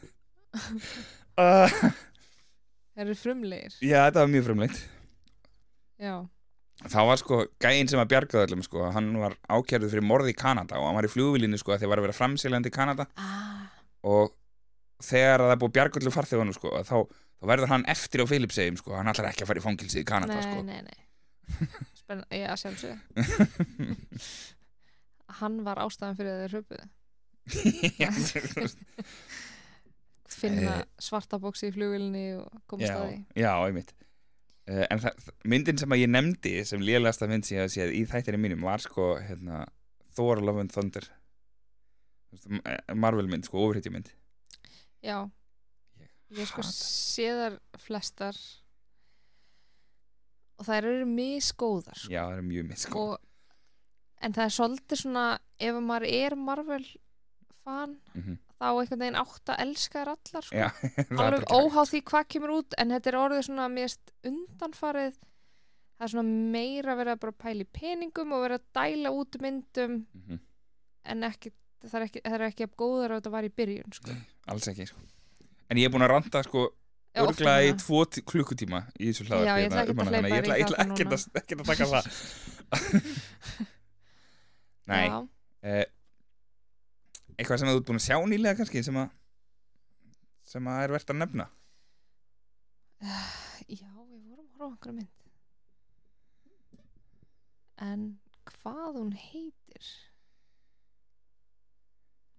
Uh,
Það eru frumlegir.
já, þetta var mjög frumleitt.
Já.
Það var sko gæinn sem að bjargaði öllum sko, hann var ákjærður fyrir morði í Kanada og hann var í flugvílinni sko að þeir var að vera framseljandi í Kanada
Ah,
og þegar að það er búið að bjarga öllum farþegunum sko að þá, þá verður hann eftir á Filipsheim sko, hann ætlar ekki að fara í fangilsi í Kanada
nei,
sko.
nei, nei. Spenn, já, sjálfsög. Hann var ástæðan fyrir að þeir hröpuðu.
Já, þú veist,
Finna svarta bóksi í flugilni og
Eh.
komast
já,
að því.
já, einmitt. Uh, en það, myndin sem að ég nefndi sem lélegasta mynd sem ég hef séð í þættinni mínum var sko hérna, Thor Love and Thunder Þú veist, Ma- Marvel mynd sko, ofurhýttjumynd
Já. Ég sko
hata.
séðar flestar og þær eru misgóðar sko.
Já, það er mjög mynd sko
og en það er svolítið svona ef maður er Marvel fan
Mhm.
þá einhvern veginn átt að elska þær allar sko.
Já, það er
alveg
bara-
óháð því hvað kemur út en þetta er orðið svona mest undanfarið það er svona meira verið að bara pæli peningum og verið að dæla út myndum
Mhm.
en ekki, það er ekki, það er ekki að góðar að þetta var í byrjun sko.
Alls ekki sko En ég er búin að randa sko
Já, oft
örglega í
núna.
tvo tí- klukkutíma í þessu hérna, hlaðar
Já, ég ætla ekkert að hleypa
Ég
þér í
ætla, ég
það
ætla ekkert
núna.
að, ekkert að taka það Nei,
Já.
eh, eitthvað sem þú ert búin að sjá nýlega kannski sem að sem að er verðt að nefna
Já, við vorum að horfa á einhverja mynd En hvað hún heitir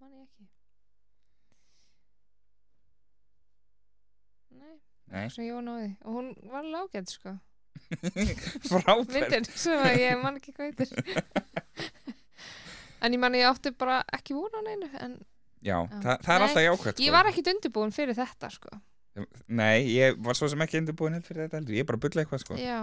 Man ég ekki Nei,
Nei,
sem ég var náði Og hún var lágætt sko
frábært
Myndin sem að ég man ekki hvað heitir En ég man að ég átti bara ekki vona á neinu En
Já,
Já.
það, það er
Nei,
alltaf jákvæmt
ég var ekkit undirbúin fyrir þetta sko
Nei, ég var svo sem ekki undirbúin held fyrir þetta heldur, ég er bara að bulla eitthvað sko
Já,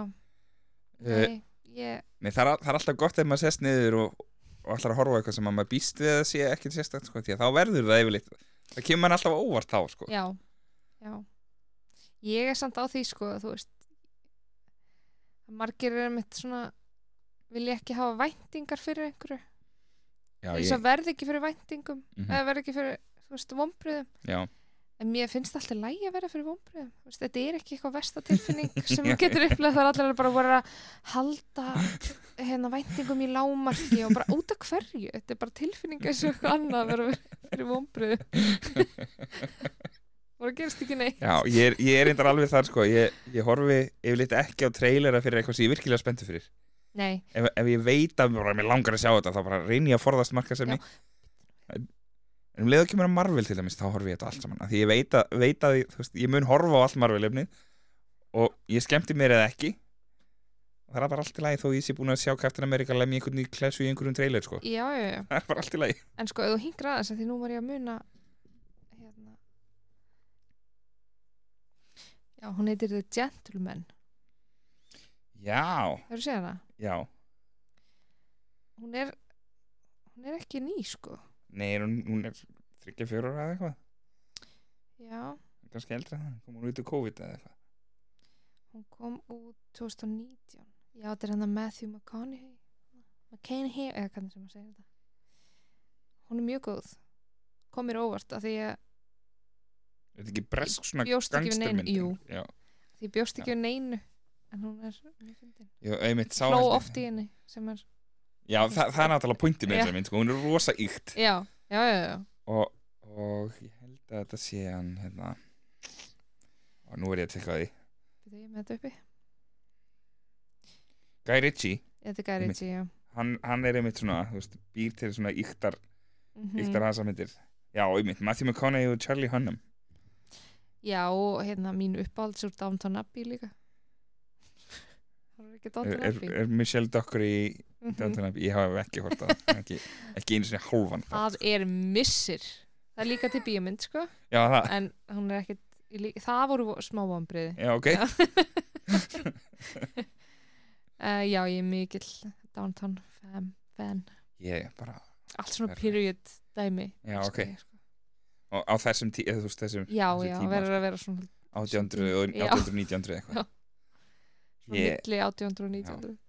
Eh,
nei, ég
Nei, það er, al- það er alltaf gott ef maður sest niður og, og allar að horfa á eitthvað sem að maður býst við að sé ekki sérstakt sko, því að þá verður það yfirleitt það kemur mann alltaf á óvart þá sko.
já, já ég er samt á því sko að þú veist margir er mitt svona vilja ekki hafa væntingar fyrir einhverju
já,
þess
ég,
að verði ekki fyrir væntingum
Mhm.
eða verði ekki fyrir, þú veist, vonbröðum
já,
en mér finnst alltaf lægi að vera fyrir vonbröðum veist, þetta er ekki eitthvað versta tilfinning sem
Já.
maður getur upplegað þar allir eru bara voru að halda hérna væntingum í lámarki og bara út af hverju þetta er bara tilfinning eins og eitthvað annað að vera fyrir vonbröðum voru að gerast ekki neitt
já ég, er, ég er reyndar alveg þar sko, ég, ég horfi yfirleitt ekki á trailera fyrir eitthvað sem ég er virkilega spenntu fyrir
nei,
ef, ef ég veit að bara, mér langar að sjá þetta þá bara reyni ég að forðast markasemni en en um leiðu kemur að Marvel til dæmis þá horfi ég þetta allt saman af því ég veit að, veit að ég- þú veist, ég mun horfa á allt Marvel-efnið og ég skemmti mér eða ekki það er bara allt í lagi þó ég sé búin að sjá Captain America lemja einhvern í klessu í einhverjum trailer sko.
já, já, já
það er bara allt í lagi
En sko, ef þú hingra aðeins, af því nú var ég að muna hérna Já, hún heitir The Gentleman
já,
Hefur þú séð hana?
já,
Hún er hún er ekki ný, sko
nei hún, hún er 34 ára eða eitthvað,
Já,
kannski eldra en það kom hún út úr COVID eða eitthvað
hún kom út 2019 Já, þetta er hann að Matthew McConaughey McConaughey, eða hvernig sem að segja þetta Hún er mjög góð kom mér óvart af því að
er þetta ekki bresk svona
Bjóst ekki við neinu,
gangstermynd
jú.
já,
því ég bjóst ekki um neinu en hún er mjög fyndin
Jú, einmitt, sá
Hló
held ég-
oft í henni sem er
Já, það, það er náttúrulega pointið með
Já.
þessari mynd, sko, hún er rosa ykt
Já, já, já, já
og, og ég held að þetta sé hann, hérna og nú er ég að tekka því
Bíddu, ég er með þetta uppi
Guy Ritchie,
Þetta er Guy
Einmitt.
Ritchie, já
hann, hann er einmitt svona, þú veist, býr til svona yktar,
Mhm.
yktar hasa myndir Já, einmitt, Matthew McConaughey og Charlie Hunnam
Já, og hérna mín uppáhalds úr Downton Abbey líka Það er ekki
er,
Downton
er,
Abbey
er Michelle Docker í
Mhm.
Downton Abbey, ég hef ekki hort á það, ekki, ekki einu svona hálfan þátt.
Það er missir Það er líka til bíómynd, sko
Já, það,
En hún er ekkit Ég lí- það voru vo- smá vonbriði
Já, ok.
Já. uh, já, ég er mikill downtown fan, fan.
Ég bara,
allt svona
Verður.
period dæmi
Já,
elska
ok.
ég, sko.
og á þessum, tí, eða, þú veist, þessum
já,
þessi
já,
tíma, sko.
verður að vera svona,
1800 og
Já.
1800, 1900 eitthvað.
Já. svona
Ég-
milli 1800 og 1900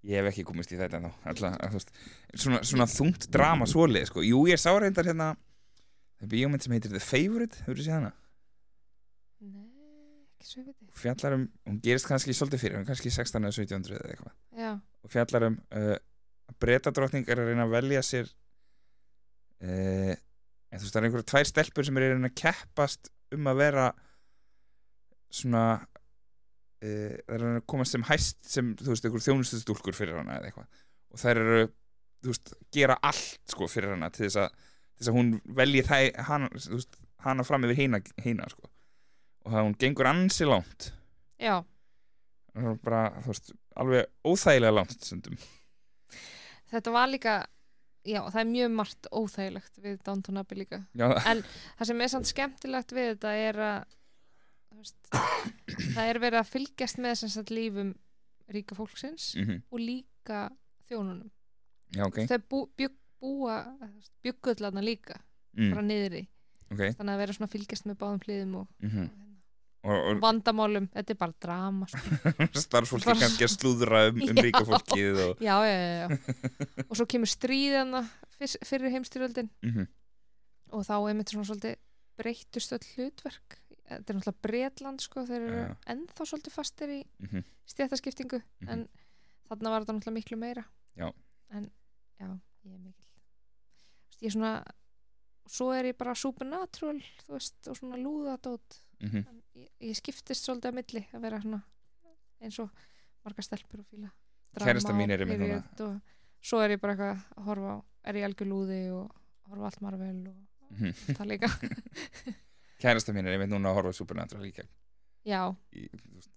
Ég hef ekki komist í þetta ennþá Alla, að, þú veist, svona, svona þungt drama svoleið sko. Jú, ég sá reyndar hérna það er bíómynd sem heitir The Favourite Hefur þú séð hana?
nei, ekki svo ég veit
Fjallar um, hún gerist kannski svolítið fyrir hún er kannski 16 eða 1700 eða eitthvað
ég já,
og fjallar um uh, breytadrottning er að reyna að velja sér uh, en þú veist, það er einhverja tvær stelpur sem er að reyna að keppast um að vera svona uh, það er að reyna að komast sem hæst sem, þú veist, einhverjum þjónustustúlkur fyrir hana eða eitthvað og þær eru, þú veist, gera allt sko fyrir hana til þess að, til þess að hún velji þæ, hana, þú veist, hana fram yfir hina, hina sko og það hún gengur ansi langt
já,
Hún er bara, þú veist, alveg óþægilega langt stundum
þetta var líka já, það er mjög margt óþægilegt við downtown Abbey líka
Já, það-
það sem er samt skemmtilegt við þetta er að þú veist, það er verið að fylgjast með sem sagt lífum ríka fólksins
mhm,
og líka þjónunum
Já, ok
þau bú, bjugg, búa bjuggullana líka,
mm,
bara niðri
Ok
þannig að vera svona að fylgjast með báðum hliðum og
mhm.
og
Og,
vandamálum, þetta er bara drama sko.
og starfsfólki
Bara-
kannski að slúðra um, um
Já.
ríka fólkið og,
já, já, já, já og svo kemur stríðana fyrir heimstyrjöldin
mhm,
og þá er mitt svona svolítið breyttust öll hlutverk þetta er náttúrulega bretland sko, þeir eru
Já.
ennþá svolítið fastir í
mhm,
stjættaskiptingu
Mhm.
en þarna var þetta náttúrulega miklu meira
Já.
en já, ég er mikil Vist, ég er svona svo er ég bara supernatural þú veist, og svona lúðadót
mhm.
En ég, ég skiptist svolítið að milli að vera svona eins og marga stelpur og fíla drama
Kærastan mín
og
er einmitt núna.
period og svo er ég bara eitthvað að horfa á er ég algjör lúði og horfa á allt marvel og
Mhm.
það líka
Kærasta mín er einmitt núna að horfa á Supernatural líka
já,
ég, þú veist,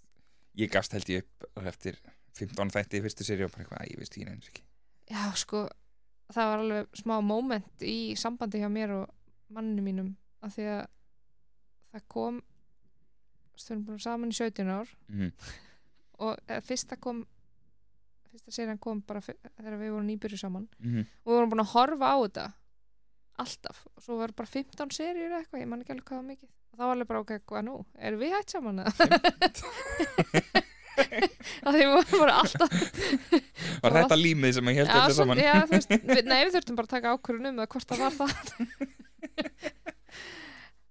ég gafst held ég upp eftir 15 þætti í fyrstu seri og bara eitthvað, "Æ, ég veist ekki neins ekki
já sko það var alveg smá moment í sambandi hjá mér og manni mínum af því að það kom stöðum búin saman í 17 ár
mhm,
og eh, fyrsta kom fyrsta serían kom bara fyr- þegar við vorum nýbyrju saman
mhm,
og við vorum búin að horfa á þetta alltaf og svo var bara 15 seríur eða eitthvað, ég man ekki alveg hvað það var mikið og þá var alveg bara ok, hvað nú, erum við hætt saman eða? að því við vorum bara alltaf
Var þetta límið sem að held
já,
þetta
svona-
saman
já, þú veist, við, nei, við þurftum bara að taka ákvörðun um það hvort það var það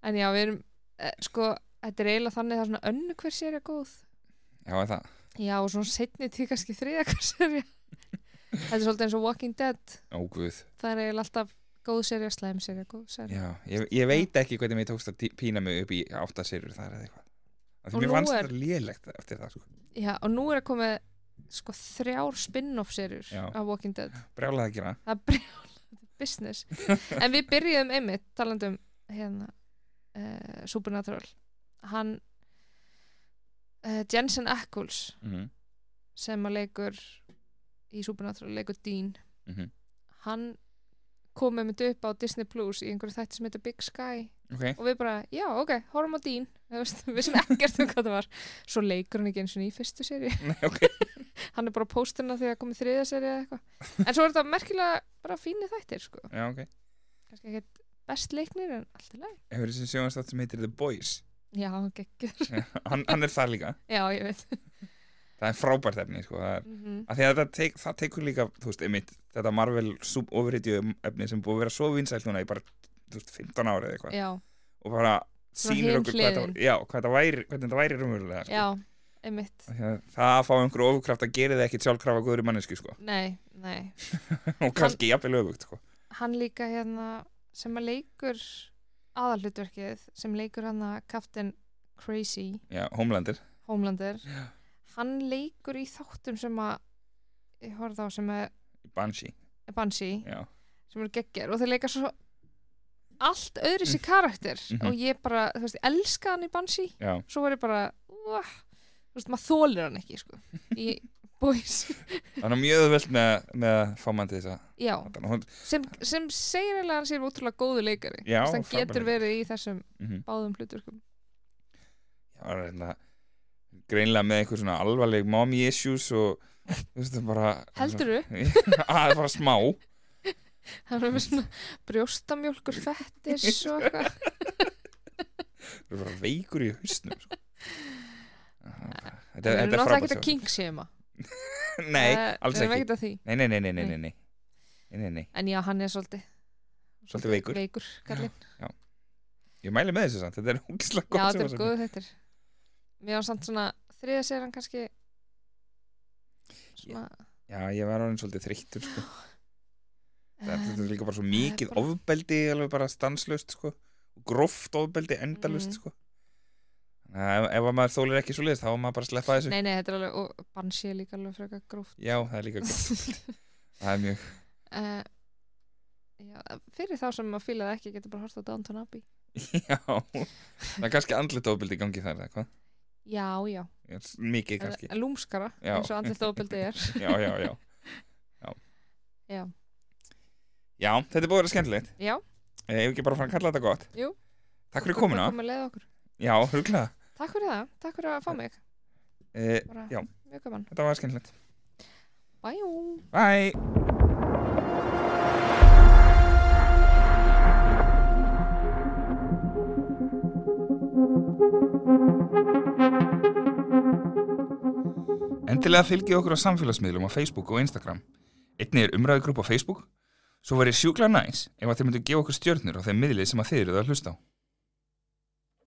en já, við erum eh, sko, þetta er eiginlega þannig það er svona önnu hver séri góð
Já, er það,
já, og svona setni til kannski þriða hver séri þetta er svolítið eins og Walking Dead
óguð
það er eiginlega alltaf góð séri, slæm séri, góð séri
Já, ég, ég veit ekki hvernig mér tókst að tí- pína mig upp í átta serjur þar eða eitthvað Af
Og
Því mér
nú
fannst
er-
þetta lélegt eftir það sko.
Já, og nú er að koma sko þrjár spin-off serjur
Já.
af Walking Dead.
Brjálaði að gera
Það er brjálað business. en við byrjuðum einmitt talandum hérna uh, Supernatural. Hann uh, Jensen Ackles
mhm,
sem að leikur í Supernatural, leikur Dean
mhm.
hann kom með mynd upp á Disney Plus í einhverju þætti sem heitir Big Sky
Ok,
og við bara, já, ok, horfum á Dean Þú veist, við sem ekkert um hvað það var svo leikur hann ekki eins og í fyrstu seri
Nei, ok
hann er bara á pósturna þegar komið þriðja seri eða eitthvað en svo er þetta merkilega bara fínir þættir sko.
Já, ok.
kannski ekkert best leiknir en allt í lagi
Hefur þessi sjónastátt sem heitir The Boys?
já, geggjur,
hann, hann er það líka.
já, ég veit
Það er frábært efni, sko. Það, er,
mm
að að það, teik, það tekur líka, þú veist, einmitt, þetta Marvel overhitju efni sem búið að vera svo vinsælt núna í bara, þú veist, 15 ára eða eitthvað.
já,
Og bara
Svona
sýnir
hin
okkur hvað það,
hliðin.
já, hvað það væri, hvernig þetta væri raunverulega, sko.
já, einmitt
Af því að Það að fá einhverju ofurkraft að gera það ekkit sjálfkrafa góður í mannesku, sko.
nei, nei,
Og kannski jafnvel öfugt, sko.
hann líka hérna sem að leikur aðalhlutverkið sem leikur hann að Captain Crazy
Já, Homelander.
Homelander hann leikur í þáttum sem að ég horfði á sem er
Banshee.
Banshee
Já.
sem eru geggjær og þeir leika svo allt öðru sér karakter
Mhm.
og ég bara, þú veist, ég elska hann í Banshee
Já.
svo var ég bara, uh, þú veist, maður þólir hann ekki, sko í boys,
Hann er mjög öðvöld með, með að fá mann til þess að...
já
Hún,
sem, sem segir eiginlega að hann sér útrúlega góðu leikari
Já,
Þú veist, hann
frábær
getur
leikari.
verið í þessum
Mhm.
báðum hluturkum
var hérna greinlega með einhver svona alvarleg mommy issues og þú veist það bara
Heldurðu?
að bara smá
Það er með svona brjóstamjólkur fettis og eitthvað.
þú er bara veikur í hausnum sko. þetta, þetta er
Við erum náttúrulega
frábært hjá
ekki að kingsima.
þér. nei, alls
Við erum
ekki
ekkert að því.
nei, nei, nei, nei, nei, nei, nei. Nei, nei, nei.
En já, hann er svolítið
svolítið veikur
veikur, kallinn.
ég mæli með þessu samt, þetta er ógislega
Já,
gott
þetta er
sjónvarpsefni.
góð þetta. Mér var samt svona, þriða sér hann kannski svona,
já, ég var orðin svolítið þreyttur sko. þetta
eh,
þetta er líka bara svo
það er
mikið
bara-
ofbeldi alveg bara stanslust sko. gróft ofbeldi, endalust
Mm.
sko. Þannig að ef, ef að maður þólir ekki svo liðist þá var maður bara að sleppa þessu
nei, nei, þetta er alveg, og bansi er líka alveg frekar gróft.
já, það er líka gott það er mjög,
Eh, já, fyrir þá sem maður fílaði ekki getur bara hort á Downton Abbey.
já það er kannski andlut ofbeldi í gangi þar eða hvað?
Já, já,
Já, s- mikið kannski
en lúmskara,
Já.
eins og andlegt ofbeldi er.
já, já, já já,
Já.
Já, þetta er búið að vera skemmtilegt
Já,
Eh, Ef ekki bara fann að kalla þetta gott
Jú.
Takk fyrir komuna
Komum að leiða okkur.
Já, hugla
Takk fyrir það, takk fyrir að fá mig.
uh,
Bara,
Eh, Já.
Mjög gaman.
Þetta var skemmtilegt
Bæjum.
Bye Endilega fylgið okkur á samfélagsmiðlum á Facebook og Instagram. Einnig er umræðugrúpp á Facebook. Svo verið sjúkla næs ef að þið myndu gefa okkur stjörnur á þeim miðlið sem að þið eruð að hlusta á.